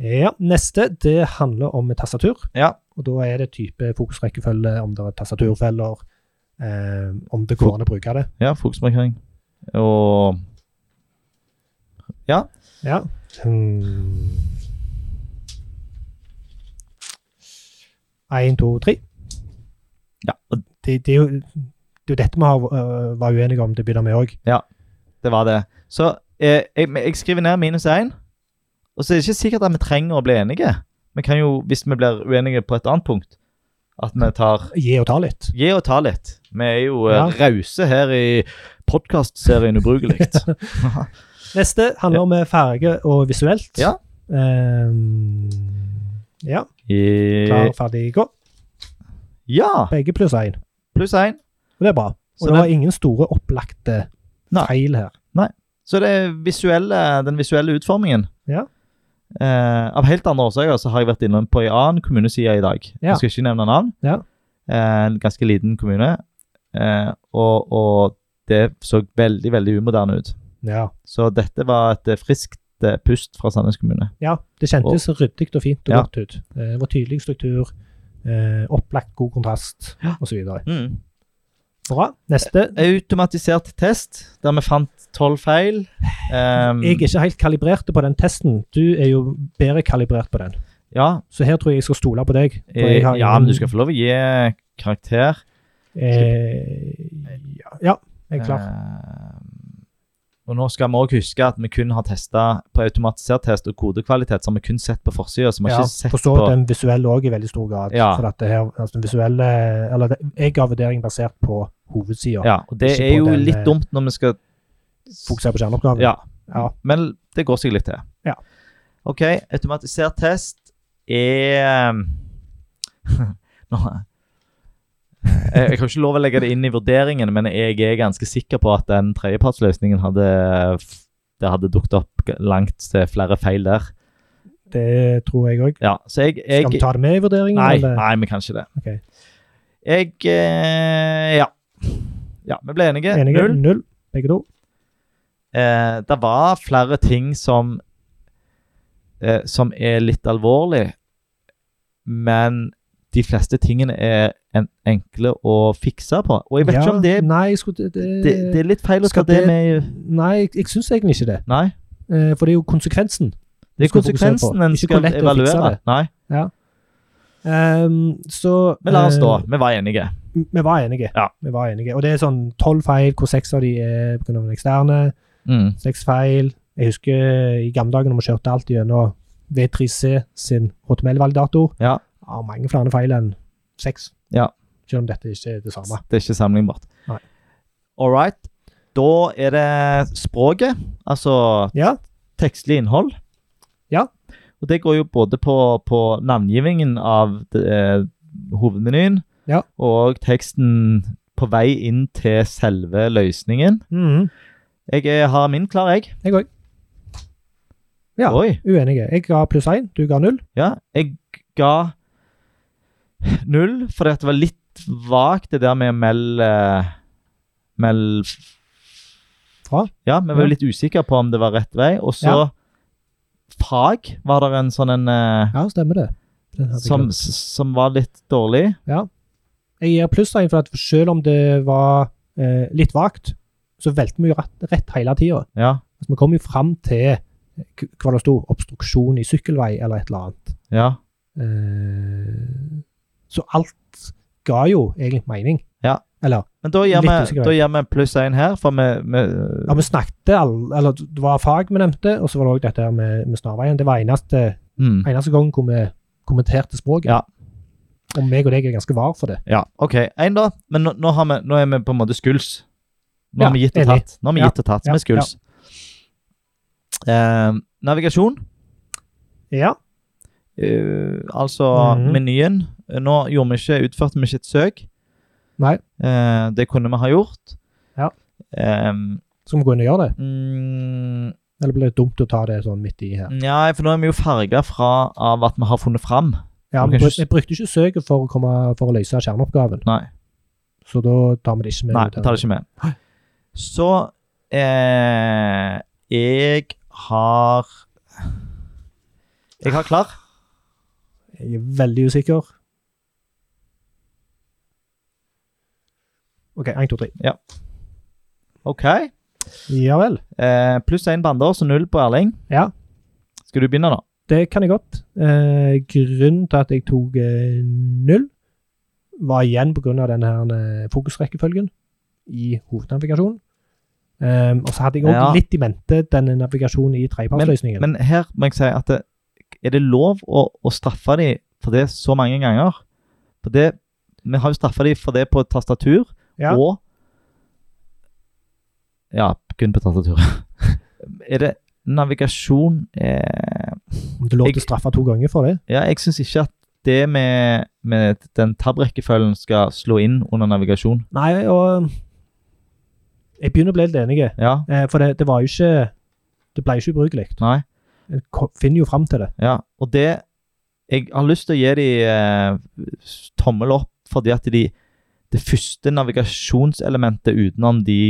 Speaker 1: Ja, neste det handler om tastatur.
Speaker 2: Ja.
Speaker 1: Og da er det type fokusrekkefølge, om det er tastaturfeller, eh, om det går an å bruke det.
Speaker 2: Ja, fokusmarkering. Og Ja.
Speaker 1: Ja. Hmm. Én, to, tre.
Speaker 2: ja. Og
Speaker 1: Det, det, er jo, det er jo dette vi har, øh, var uenige om til å begynne med òg.
Speaker 2: det var det. Så eh, jeg, men jeg skriver ned minus én. Og så er det ikke sikkert at vi trenger å bli enige. Vi kan jo, hvis vi blir uenige på et annet punkt, at vi tar
Speaker 1: Gi og ta litt.
Speaker 2: Gi og ta litt. Vi er jo eh,
Speaker 1: Ja.
Speaker 2: rause her i podkastserien
Speaker 1: (laughs)
Speaker 2: Ubrukelig.
Speaker 1: Neste handler om eh, farge og visuelt.
Speaker 2: Ja.
Speaker 1: Ehm, ja.
Speaker 2: I-
Speaker 1: Klar, ferdig, gå.
Speaker 2: ja.
Speaker 1: Begge pluss én.
Speaker 2: Pluss én.
Speaker 1: Og det er bra. Og
Speaker 2: Så
Speaker 1: det
Speaker 2: det-
Speaker 1: var ingen store opplagte
Speaker 2: Nei.
Speaker 1: feil her.
Speaker 2: Så det visuelle, den visuelle utformingen
Speaker 1: Ja.
Speaker 2: eh, Av helt andre årsaker så har jeg vært inne på en annen kommuneside i dag.
Speaker 1: Ja.
Speaker 2: Jeg skal ikke nevne navn.
Speaker 1: Ja.
Speaker 2: Eh, en ganske liten kommune. Eh, og, og det så veldig, veldig umoderne ut.
Speaker 1: Ja.
Speaker 2: Så dette var et eh, friskt eh, pust fra Sandnes kommune.
Speaker 1: ja det kjentes ryddig og fint og
Speaker 2: Ja.
Speaker 1: godt ut. Eh, Det var tydelig struktur, eh, opplagt god kontrast osv.
Speaker 2: Mm.
Speaker 1: Bra. Neste.
Speaker 2: Automatisert test, der vi fant tolv
Speaker 1: (laughs)
Speaker 2: feil. Ehm,
Speaker 1: Jeg er ikke helt kalibrerte på den testen. Du er jo bedre kalibrert på den.
Speaker 2: ja,
Speaker 1: Så her tror jeg jeg skal stole på deg. for
Speaker 2: eh,
Speaker 1: jeg har
Speaker 2: ja,
Speaker 1: ingen-
Speaker 2: men du skal få lov å gi karakter.
Speaker 1: eh, ja, ja, jeg er
Speaker 2: Eh,
Speaker 1: klar.
Speaker 2: Ehm, og nå skal vi også huske at vi kun har testet på automatisert test og kodekvalitet, så har vi kun sett på forsida, så vi har
Speaker 1: Ja,
Speaker 2: ikke sett
Speaker 1: forstår
Speaker 2: på
Speaker 1: at den visuelle òg i veldig stor grad.
Speaker 2: Ja.
Speaker 1: For at det her, altså den visuelle, eller det, Jeg ga vurdering basert på hovedsida.
Speaker 2: Ja, og det
Speaker 1: ikke
Speaker 2: er
Speaker 1: på
Speaker 2: jo
Speaker 1: den,
Speaker 2: litt
Speaker 1: eh,
Speaker 2: dumt når vi skal
Speaker 1: Fokusere på kjerneoppgaven.
Speaker 2: Ja.
Speaker 1: Ja.
Speaker 2: Men det går seg litt til.
Speaker 1: Ja.
Speaker 2: OK, automatisert test er ehm, (laughs) Nå eh, jeg, jeg kan ikke lov å legge det inn i vurderingen, men jeg er ganske sikker på at den tredjepartsløsningen hadde Det hadde dukket opp g- langt til flere feil der.
Speaker 1: Det tror jeg òg.
Speaker 2: Ja, så jeg, jeg
Speaker 1: Skal vi ta det med i vurderingen?
Speaker 2: Nei,
Speaker 1: eller?
Speaker 2: nei, vi kan ikke det.
Speaker 1: Ok.
Speaker 2: Jeg eh, ja. ja. Vi ble enige.
Speaker 1: Enige? Null.
Speaker 2: Null.
Speaker 1: Begge to.
Speaker 2: Eh, det var flere ting som eh, Som er litt alvorlig, men de fleste tingene er en, enkle å fikse på. Og jeg vet
Speaker 1: Ja,
Speaker 2: ikke om det,
Speaker 1: Nei, jeg skulle, det,
Speaker 2: det Det er litt feil å ta
Speaker 1: Skal
Speaker 2: det
Speaker 1: det-
Speaker 2: med
Speaker 1: nei jeg, jeg syns egentlig ikke det.
Speaker 2: Nei.
Speaker 1: Eh, For det er jo konsekvensen.
Speaker 2: Det er
Speaker 1: skal fokusere på.
Speaker 2: konsekvensen en
Speaker 1: Ikke hvor
Speaker 2: skal
Speaker 1: lett det er å fikse
Speaker 2: evaluere.
Speaker 1: det.
Speaker 2: Nei,
Speaker 1: Ehm, så
Speaker 2: Men la oss stå.
Speaker 1: eh,
Speaker 2: Vi var enige.
Speaker 1: Vi var enige.
Speaker 2: Ja.
Speaker 1: Vi var enige. Og det er sånn tolv feil, hvor seks av de er pga. den eksterne.
Speaker 2: Mm.
Speaker 1: Seks feil. Jeg husker i gamle dager når vi kjørte alt gjennom V3C sin HTML-validator.
Speaker 2: Ja.
Speaker 1: Ja, mange flere feil enn seks.
Speaker 2: Ja.
Speaker 1: Selv om dette ikke er det samme.
Speaker 2: Det er ikke sammenlignbart.
Speaker 1: Nei.
Speaker 2: All right. Da er det språket, altså
Speaker 1: Ja.
Speaker 2: tekstlig innhold.
Speaker 1: Ja.
Speaker 2: Og det går jo både på, på navngivingen av eh, hovedmenyen
Speaker 1: Ja.
Speaker 2: og teksten på vei inn til selve løsningen.
Speaker 1: Mhm.
Speaker 2: Jeg er, har min klar, jeg.
Speaker 1: Jeg òg. Ja.
Speaker 2: Oi.
Speaker 1: Uenige. Jeg ga pluss én, du ga null.
Speaker 2: Ja, jeg ga null, for det var litt vagt det der med meld eh, Meld f-
Speaker 1: Fra?
Speaker 2: Ja, vi var
Speaker 1: Ja.
Speaker 2: jo litt usikre på om det var rett vei. Og så
Speaker 1: Ja.
Speaker 2: fag var det en sånn en eh,
Speaker 1: Ja, stemmer det. Den hadde jeg
Speaker 2: som,
Speaker 1: glemt.
Speaker 2: s- som var litt dårlig.
Speaker 1: Jeg gir pluss én, for at selv om det var eh, litt vagt, så valgte vi jo rett, rett hele tida.
Speaker 2: Ja.
Speaker 1: Altså, vi kom jo fram til eh, k- hva det sto, obstruksjon i sykkelvei eller et eller annet.
Speaker 2: Ja.
Speaker 1: Eh, så alt ga jo egentlig mening.
Speaker 2: Ja.
Speaker 1: Eller
Speaker 2: Men da gir,
Speaker 1: Litt
Speaker 2: vi,
Speaker 1: usikker.
Speaker 2: da gir vi pluss én her, for vi, vi
Speaker 1: ja, vi snakket all, Eller det var fag vi nevnte, og så var det òg dette her med, med snarveien. Det var eneste,
Speaker 2: mm.
Speaker 1: eneste gang hvor vi kommenterte språket.
Speaker 2: Ja.
Speaker 1: Og meg og deg er ganske var for det.
Speaker 2: Ja, OK. Én, da. Men nå, nå, har vi, nå er vi på en måte skuls. Nå
Speaker 1: Ja,
Speaker 2: har vi gitt og
Speaker 1: enig.
Speaker 2: tatt. Nå har vi
Speaker 1: Ja,
Speaker 2: gitt og tatt,
Speaker 1: ja,
Speaker 2: vi er skuls. Eh, navigasjon,
Speaker 1: Ja.
Speaker 2: eh, altså
Speaker 1: Mhm.
Speaker 2: menyen. Nå gjorde vi ikke, utførte vi ikke et søk.
Speaker 1: Nei.
Speaker 2: Eh, det kunne vi ha gjort.
Speaker 1: Ja.
Speaker 2: Eh,
Speaker 1: Skal vi gå inn og gjøre det?
Speaker 2: mm,
Speaker 1: Eller blir det dumt å ta det sånn midt i her?
Speaker 2: ja, for nå er vi jo farga fra av at vi har funnet fram.
Speaker 1: Ja,
Speaker 2: Du
Speaker 1: men
Speaker 2: kan
Speaker 1: bru-
Speaker 2: ikke s-
Speaker 1: jeg brukte ikke søket for å, komme, for å løse kjerneoppgaven,
Speaker 2: Nei.
Speaker 1: så da tar vi det ikke med.
Speaker 2: Nei,
Speaker 1: ut her.
Speaker 2: jeg tar det ikke med. Så eh, Jeg har Jeg har klar.
Speaker 1: Jeg er veldig usikker. OK, 1, 2, 3.
Speaker 2: OK.
Speaker 1: Ja vel.
Speaker 2: Eh, pluss én på Anders og null på Erling.
Speaker 1: Ja.
Speaker 2: Skal du begynne, da?
Speaker 1: Det kan jeg godt. Eh, grunnen til at jeg tok eh, null, var igjen pga. denne her, eh, fokusrekkefølgen i hovednavigasjonen. Eh, og så hadde jeg òg
Speaker 2: Ja.
Speaker 1: litt i mente denne navigasjonen i trepartsløsningen.
Speaker 2: Men her må jeg si at det, er det lov å, å straffe dem for det så mange ganger? For det, vi har jo straffa dem for det på tastatur
Speaker 1: Ja.
Speaker 2: og Ja, kun på tastatur. (laughs) er det navigasjon eh,
Speaker 1: Om det er lov til
Speaker 2: jeg-
Speaker 1: å straffe to ganger for det?
Speaker 2: Ja, jeg syns ikke at det med, med den tab-rekkefølgen skal slå inn under navigasjon.
Speaker 1: Nei, og eh, Jeg begynner å bli litt enig,
Speaker 2: Ja,
Speaker 1: eh, for det, det var jo ikke Det ble jo ikke ubrukelig.
Speaker 2: nei.
Speaker 1: En ko- finner jo fram til det.
Speaker 2: Ja, og det Jeg har lyst til å gi dem eh, tommel opp, fordi at de Det første navigasjonselementet utenom de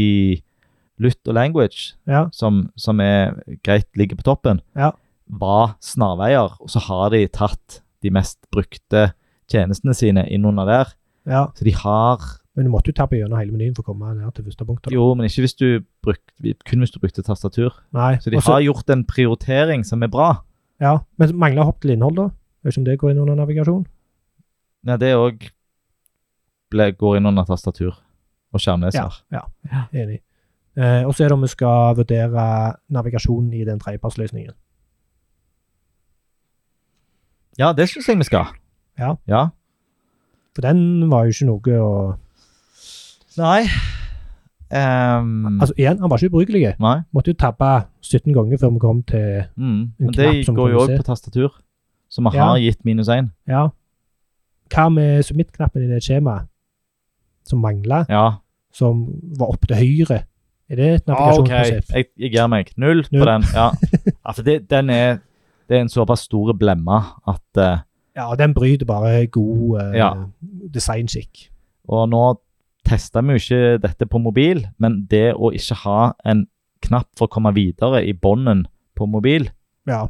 Speaker 2: lytt og language,
Speaker 1: Ja.
Speaker 2: som, som er greit ligger på toppen,
Speaker 1: Ja.
Speaker 2: var snarveier. Og så har de tatt de mest brukte tjenestene sine innunder der.
Speaker 1: ja.
Speaker 2: Så de har
Speaker 1: Men du måtte jo tappe gjennom hele menyen for å komme ned til første punkt. da.
Speaker 2: Jo, men ikke hvis du brukte, kun hvis du brukte tastatur.
Speaker 1: Nei.
Speaker 2: Så de
Speaker 1: og så-
Speaker 2: har gjort en prioritering som er bra.
Speaker 1: Ja, men mangler hopp til innhold, da? Vet ikke om det går inn under navigasjon?
Speaker 2: Ja, det òg går inn under tastatur og skjermleser.
Speaker 1: Ja, enig. Eh, og så er det om vi skal vurdere navigasjonen i den tredjepartsløsningen.
Speaker 2: Ja, det syns jeg vi skal.
Speaker 1: Ja. For den var jo ikke noe å
Speaker 2: Nei Ehm,
Speaker 1: Altså igjen, han var ikke ubrukelig.
Speaker 2: Nei.
Speaker 1: Måtte jo tabbe 17 ganger før vi kom til
Speaker 2: Mm.
Speaker 1: En
Speaker 2: Men det
Speaker 1: knapp som
Speaker 2: går jo òg
Speaker 1: kommuniserer.
Speaker 2: på tastatur, så vi
Speaker 1: Ja.
Speaker 2: har gitt minus én.
Speaker 1: Ja. Hva med submit-knappen i det skjemaet som mangla,
Speaker 2: Ja.
Speaker 1: som var opp til høyre? Er det et
Speaker 2: Ah, OK,
Speaker 1: navigasjonsprinsipp?
Speaker 2: jeg, jeg gir meg. Null på
Speaker 1: Null.
Speaker 2: den.
Speaker 1: (laughs)
Speaker 2: Ja. ja for det, den er Det er en såpass stor blemme at eh,
Speaker 1: Ja, den bryter bare god eh,
Speaker 2: Ja.
Speaker 1: designskikk.
Speaker 2: Og nå tester vi jo ikke dette på mobil, men det å ikke ha en knapp for å komme videre i bånden på mobil
Speaker 1: Ja.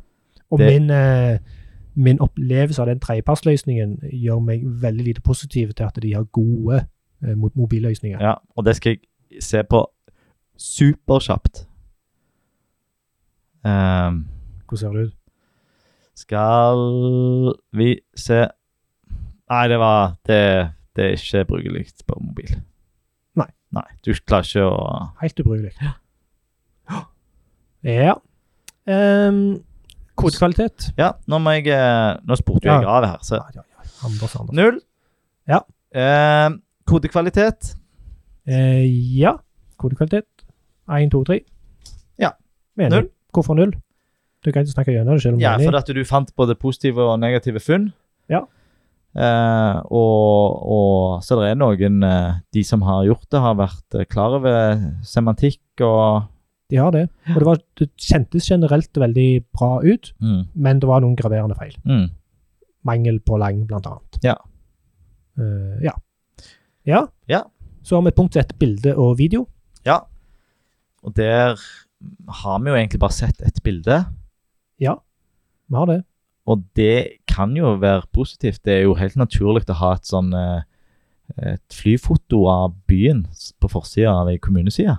Speaker 1: Og
Speaker 2: Det-
Speaker 1: min, eh, min opplevelse av den tredjepartsløsningen gjør meg veldig lite positiv til at de har gode eh, mot mobilløsninger.
Speaker 2: Ja, og det skal jeg se på superkjapt. Ehm,
Speaker 1: Hvordan ser det ut?
Speaker 2: skal vi se Nei, det var Det, det er ikke brukelig på mobil.
Speaker 1: Nei.
Speaker 2: Nei, Du klarer ikke å
Speaker 1: Helt ubrukelig. Ja. Em, kodekvalitet.
Speaker 2: Ja, nå må jeg eh, Nå spurte jo
Speaker 1: Ja.
Speaker 2: jeg av her, så
Speaker 1: Ja, ja, ja. Anders, Anders.
Speaker 2: Null.
Speaker 1: Ja.
Speaker 2: Ehm, kodekvalitet.
Speaker 1: Eh, ja. Kodekvalitet. 1, 2, 3.
Speaker 2: Ja.
Speaker 1: Null.
Speaker 2: Null.
Speaker 1: Hvorfor null? Du kan ikke snakke gjennom det selv om
Speaker 2: Ja,
Speaker 1: du er
Speaker 2: for
Speaker 1: enig.
Speaker 2: at du fant både positive og negative funn.
Speaker 1: Ja.
Speaker 2: Eh, og, og så det er noen eh, De som har gjort det, har vært eh, klar over semantikk og
Speaker 1: De har det. Og det, var, det kjentes generelt veldig bra ut,
Speaker 2: mm,
Speaker 1: men det var noen graverende feil.
Speaker 2: mm.
Speaker 1: mangel på lang, blant annet.
Speaker 2: Ja.
Speaker 1: Eh, ja. ja.
Speaker 2: Ja.
Speaker 1: Så har vi et punkt som heter bilde og video.
Speaker 2: Ja. Og der har vi jo egentlig bare sett et bilde,
Speaker 1: Vi har det.
Speaker 2: og det kan jo være positivt. Det er jo helt naturlig å ha et sånn eh, et flyfoto av byen s- på forsida av ei kommuneside.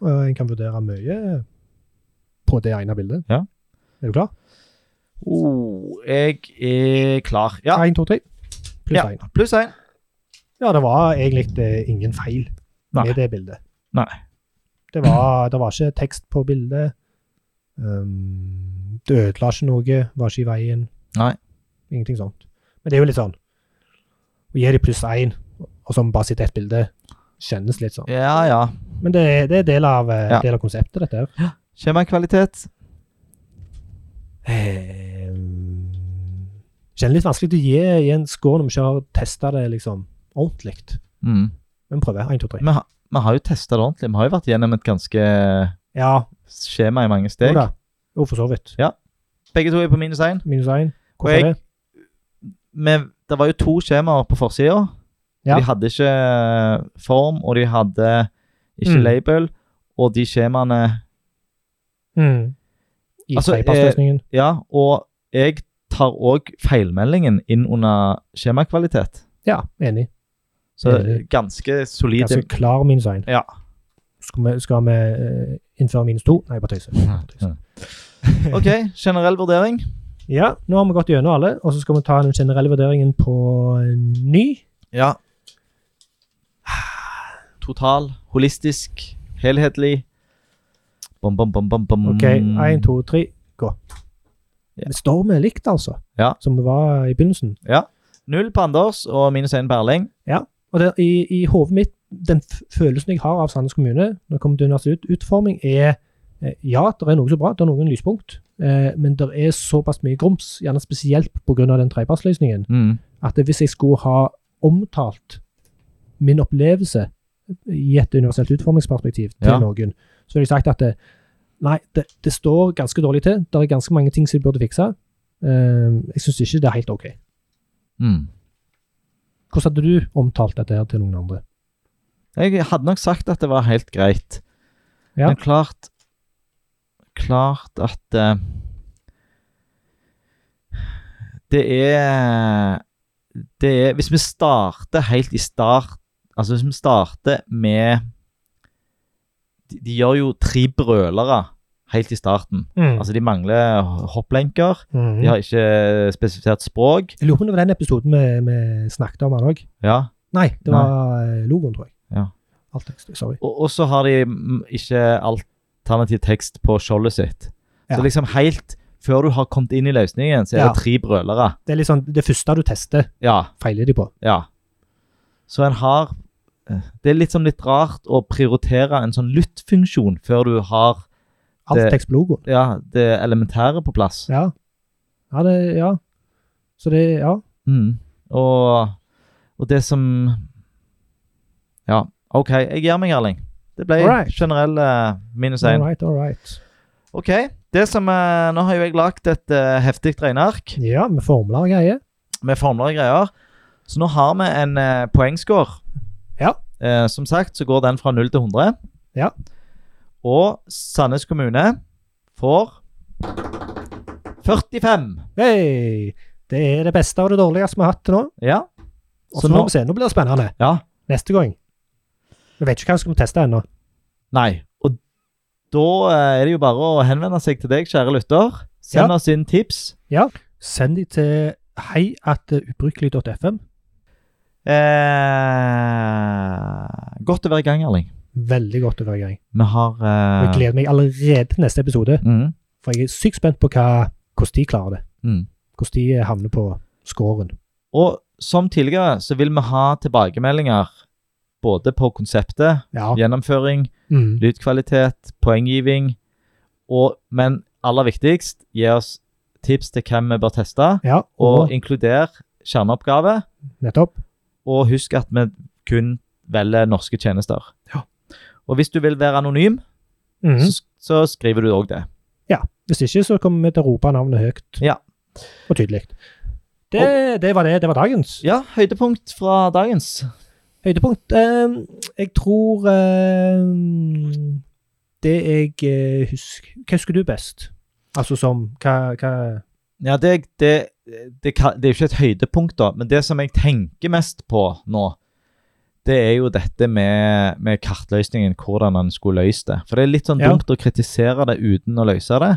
Speaker 1: Og en kan vurdere mye på det ene bildet.
Speaker 2: Ja.
Speaker 1: Er du klar?
Speaker 2: Oh, jeg er klar. Ja.
Speaker 1: 1, 2, 3. Pluss
Speaker 2: Ja.
Speaker 1: 1.
Speaker 2: Pluss én.
Speaker 1: Ja, det var egentlig eh, ingen feil
Speaker 2: Nei.
Speaker 1: med det bildet.
Speaker 2: Nei.
Speaker 1: Det var, det var ikke tekst på bildet. Um, det ødela ikke noe, var ikke i veien.
Speaker 2: Nei.
Speaker 1: Ingenting sånt. Men det er jo litt sånn Å gi de pluss én, og så bare sitte ett bilde, kjennes litt sånn.
Speaker 2: Ja, ja.
Speaker 1: Men det, er- det er del av, eh,
Speaker 2: Ja.
Speaker 1: del av konseptet, dette her.
Speaker 2: Skjemakvalitet.
Speaker 1: Um, kjenner litt vanskelig til å gi, gi en score når vi ikke har testa det liksom ordentlig.
Speaker 2: Mm.
Speaker 1: Men prøver. Én, to, tre.
Speaker 2: Vi, har- vi har jo testa det ordentlig. Vi har jo vært gjennom et ganske eh,
Speaker 1: Ja,
Speaker 2: skjema i mange
Speaker 1: jo
Speaker 2: steg.
Speaker 1: da. Jo, for så vidt.
Speaker 2: Begge to er på minus én.
Speaker 1: Minus én. Hvorfor
Speaker 2: Og jeg-
Speaker 1: det?
Speaker 2: Men Det var jo to skjemaer på forsida.
Speaker 1: Ja.
Speaker 2: De hadde ikke eh, form, og de hadde ikke
Speaker 1: Mm.
Speaker 2: label. Og de skjemaene
Speaker 1: Mm. I
Speaker 2: Altså, eh,
Speaker 1: tredjepassløsningen.
Speaker 2: Ja, og jeg tar òg feilmeldingen inn under skjemakvalitet.
Speaker 1: Ja, enig.
Speaker 2: Så
Speaker 1: Enig.
Speaker 2: ganske solid.
Speaker 1: Ganske klar minus én.
Speaker 2: Ja.
Speaker 1: Skal vi, skal vi eh, innføre minus to? Nei, jeg bare tøyser. Jeg bare tøyser.
Speaker 2: sånn. OK, generell vurdering.
Speaker 1: Ja, nå har vi gått gjennom alle, og så skal vi ta den generelle vurderingen på ny.
Speaker 2: Ja. Total, holistisk, helhetlig. Bom, bom, bom, bom, bom.
Speaker 1: OK, én, to, tre, gå.
Speaker 2: Ja.
Speaker 1: Vi står vi likt, altså,
Speaker 2: Ja.
Speaker 1: som vi var i begynnelsen.
Speaker 2: Null på Anders og minus én på Erling.
Speaker 1: Og det, i, i hodet mitt, den f- følelsen jeg har av Sandnes kommune når det kommer til universitet, utforming, er eh, ja, det er noe så bra, det er noen lyspunkt, eh, men det er såpass mye grums, gjerne spesielt pga. den trepartsløsningen, at det- hvis jeg skulle ha omtalt min opplevelse i et universelt utformingsperspektiv til
Speaker 2: Ja.
Speaker 1: noen, så ville jeg sagt at det, nei, det, det står ganske dårlig til, det er ganske mange ting som jeg burde fikse. Eh, jeg syns ikke det er helt OK.
Speaker 2: Mm.
Speaker 1: Hvordan hadde du omtalt dette her til noen andre?
Speaker 2: Jeg hadde nok sagt at det var helt greit.
Speaker 1: Ja.
Speaker 2: Men klart Klart at eh, Det er Det er Hvis vi starter helt i start Altså hvis vi starter med De, de gjør jo tre brølere helt i starten. Altså De mangler hopplenker.
Speaker 1: Mhm.
Speaker 2: De har ikke spesifisert språk.
Speaker 1: Jeg lurer på om det var den episoden vi, vi snakket om han òg.
Speaker 2: Ja,
Speaker 1: Nei, det var eh, logoen, tror jeg.
Speaker 2: Ja.
Speaker 1: Alt tekst, sorry.
Speaker 2: Og, og så har de mm, ikke alternativ tekst på skjoldet sitt.
Speaker 1: Ja.
Speaker 2: Så liksom helt før du har kommet inn i løsningen, så er
Speaker 1: Ja.
Speaker 2: det tre brølere.
Speaker 1: Det er litt sånn, det første du tester,
Speaker 2: Ja,
Speaker 1: feiler de på.
Speaker 2: ja. Så en har Det er litt sånn litt rart å prioritere en sånn lyttfunksjon før du har
Speaker 1: Alt
Speaker 2: Det-
Speaker 1: tekst på logoen.
Speaker 2: ja, det elementære på plass.
Speaker 1: Ja. Ja, det, ja. Så det, ja.
Speaker 2: Mm. Og, og det som Ja, OK, jeg gir meg, Erling. Det ble
Speaker 1: Alright.
Speaker 2: generell eh, minus
Speaker 1: All
Speaker 2: én.
Speaker 1: right, all right.
Speaker 2: OK. Det som, eh, nå har jo jeg lagd et uh, heftig regneark.
Speaker 1: Ja, med formler og greier.
Speaker 2: med formler og greier. Så nå har vi en eh, poengscore.
Speaker 1: Ja.
Speaker 2: Eh, som sagt så går den fra 0 til 100.
Speaker 1: Ja.
Speaker 2: Og Sandnes kommune får 45.
Speaker 1: Hei! Det er det beste og det dårligste vi har hatt til nå.
Speaker 2: Ja.
Speaker 1: Og
Speaker 2: Så
Speaker 1: så må
Speaker 2: nå-
Speaker 1: vi se. Nå blir det spennende.
Speaker 2: ja.
Speaker 1: Neste gang. Vi vet ikke hva vi skal teste ennå.
Speaker 2: Nei. Og da eh, er det jo bare å henvende seg til deg, kjære lytter. Send
Speaker 1: Ja.
Speaker 2: oss inn tips.
Speaker 1: Send de til heiatubrukelig.fm.
Speaker 2: Eh, godt å være i gang, Erling.
Speaker 1: Veldig godt å være i gang.
Speaker 2: Vi har eh,
Speaker 1: Jeg gleder meg allerede til neste episode.
Speaker 2: Mm,
Speaker 1: For jeg er sykt spent på hva, hvordan de klarer det.
Speaker 2: mm.
Speaker 1: Hvordan de eh, havner på scoren.
Speaker 2: Og som tidligere så vil vi ha tilbakemeldinger både på konseptet,
Speaker 1: Ja.
Speaker 2: gjennomføring,
Speaker 1: Mm.
Speaker 2: lydkvalitet, poenggiving, og, men aller viktigst, gi oss tips til hvem vi bør teste,
Speaker 1: ja
Speaker 2: og
Speaker 1: og
Speaker 2: inkluder kjerneoppgave,
Speaker 1: nettopp.
Speaker 2: og husk at vi kun velger norske tjenester.
Speaker 1: Ja.
Speaker 2: Og hvis du vil være anonym,
Speaker 1: Mhm.
Speaker 2: så, så skriver du òg det.
Speaker 1: Hvis ikke, så kommer vi til å rope navnet høyt
Speaker 2: Ja.
Speaker 1: og tydelig. Det, det var det. Det var dagens.
Speaker 2: Ja, høydepunkt fra dagens.
Speaker 1: Høydepunkt. eh, jeg tror eh, Det jeg eh, husker Hva husker du best? Altså som Hva, hva
Speaker 2: Ja, det, det, det, kan, det er jo ikke et høydepunkt, da, men det som jeg tenker mest på nå, det er jo dette med, med kartløsningen, hvordan han skulle løst det. For det er litt sånn
Speaker 1: Ja.
Speaker 2: dumt å kritisere det uten å løse det.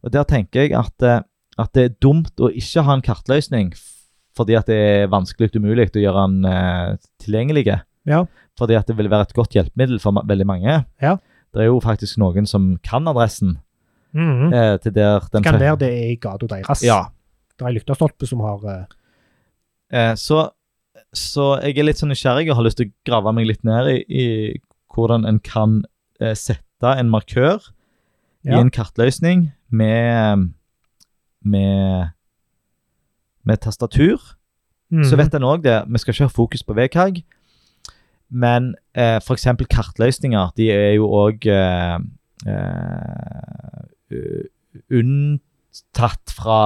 Speaker 2: Og der tenker jeg at, eh, at det er dumt å ikke ha en kartløsning f- fordi at det er vanskelig og umulig å gjøre den eh, tilgjengelig.
Speaker 1: Ja.
Speaker 2: Fordi at det vil være et godt hjelpemiddel for ma- veldig mange.
Speaker 1: Ja.
Speaker 2: Det er jo faktisk noen som kan adressen
Speaker 1: Mhm.
Speaker 2: eh, til der den
Speaker 1: Kan være det er i gata deres.
Speaker 2: Ja,
Speaker 1: Det er ei lyktestolpe som har eh,
Speaker 2: Eh, så, så jeg er litt sånn nysgjerrig og har lyst til å grave meg litt ned i, i hvordan en kan eh, sette en markør i
Speaker 1: Ja.
Speaker 2: en kartløsning med, med, med tastatur.
Speaker 1: mhm.
Speaker 2: Så vet en òg det, vi skal ikke ha fokus på VKG, men eh, f.eks. kartløsninger, de er jo òg eh, eh, u- unntatt fra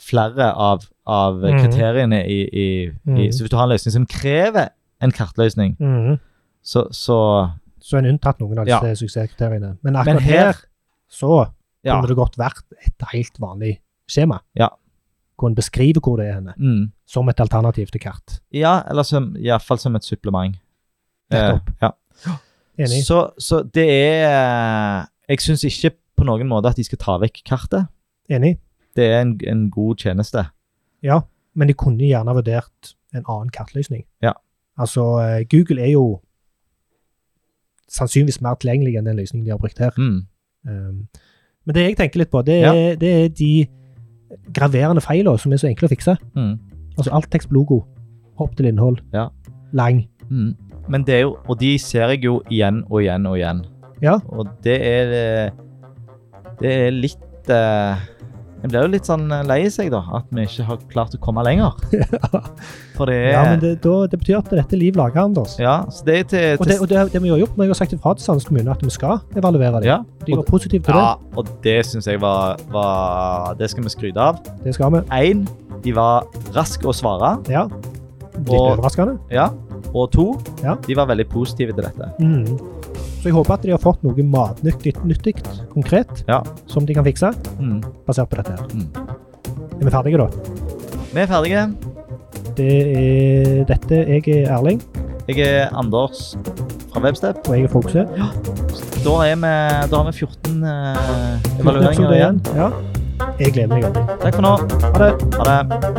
Speaker 2: flere av, av
Speaker 1: Mhm. kriteriene
Speaker 2: i,
Speaker 1: Mhm.
Speaker 2: Så hvis du har en løsning som krever en kartløsning,
Speaker 1: Mhm.
Speaker 2: så,
Speaker 1: Så er en unntatt noen av
Speaker 2: Ja.
Speaker 1: disse suksesskriteriene. Men akkurat
Speaker 2: her-
Speaker 1: her, så
Speaker 2: Ja.
Speaker 1: kunne det godt vært et helt vanlig skjema.
Speaker 2: Ja.
Speaker 1: Hvor en beskriver hvor det er henne,
Speaker 2: Mm.
Speaker 1: som et alternativ til kart.
Speaker 2: Eh, Ja, eller som, i hvert fall som et supplement.
Speaker 1: Nettopp.
Speaker 2: ja.
Speaker 1: Enig.
Speaker 2: Så, så det er eh, Jeg syns ikke på noen måte at de skal ta vekk kartet.
Speaker 1: Enig.
Speaker 2: Det er en, en god tjeneste.
Speaker 1: Ja, men de kunne gjerne vurdert en annen kartløsning.
Speaker 2: Ja.
Speaker 1: Altså, eh, Google er jo sannsynligvis mer tilgjengelig enn den løsningen de har brukt her.
Speaker 2: Mm.
Speaker 1: Um, men det jeg tenker litt på, det er, det er de graverende feilene som er så enkle å fikse.
Speaker 2: Mm.
Speaker 1: Altså alt tekst på logo, hopp til innhold,
Speaker 2: Ja.
Speaker 1: lang.
Speaker 2: Mm. Men det er jo Og de ser jeg jo igjen og igjen og igjen.
Speaker 1: Ja.
Speaker 2: Og det er eh, Det er litt eh, Jeg blir jo litt sånn lei seg, da. At vi ikke har klart å komme
Speaker 1: (laughs)
Speaker 2: lenger. For det er
Speaker 1: Ja, men det, da, det betyr at dette er liv laga, Anders.
Speaker 2: Ja, så det er til,
Speaker 1: Og, det, og det, det vi har gjort, vi har sagt ifra til Sandnes kommune at vi skal evaluere det.
Speaker 2: ja.
Speaker 1: De var positive til
Speaker 2: ja, og det syns jeg var, var Det skal vi skryte av.
Speaker 1: det. Det skal vi.
Speaker 2: Én, de var raske å svare.
Speaker 1: Ja. Litt
Speaker 2: Og-
Speaker 1: overraskende.
Speaker 2: Ja. Og to,
Speaker 1: Ja.
Speaker 2: de var veldig positive til dette.
Speaker 1: Mm. Så jeg håper at de har fått noe matnyttig, nyttig, konkret,
Speaker 2: Ja.
Speaker 1: som de kan fikse,
Speaker 2: Mm.
Speaker 1: basert på dette her.
Speaker 2: Mm.
Speaker 1: Er vi ferdige, da?
Speaker 2: Vi er ferdige.
Speaker 1: Det er dette. Jeg er Erling,
Speaker 2: Jeg er Anders fra Webstep.
Speaker 1: og jeg er Fogse.
Speaker 2: Da, er vi, da har vi 14 eh, evalueringer igjen.
Speaker 1: Ja. Jeg gleder meg altså. veldig.
Speaker 2: Takk for nå.
Speaker 1: Ha det.
Speaker 2: Ha det.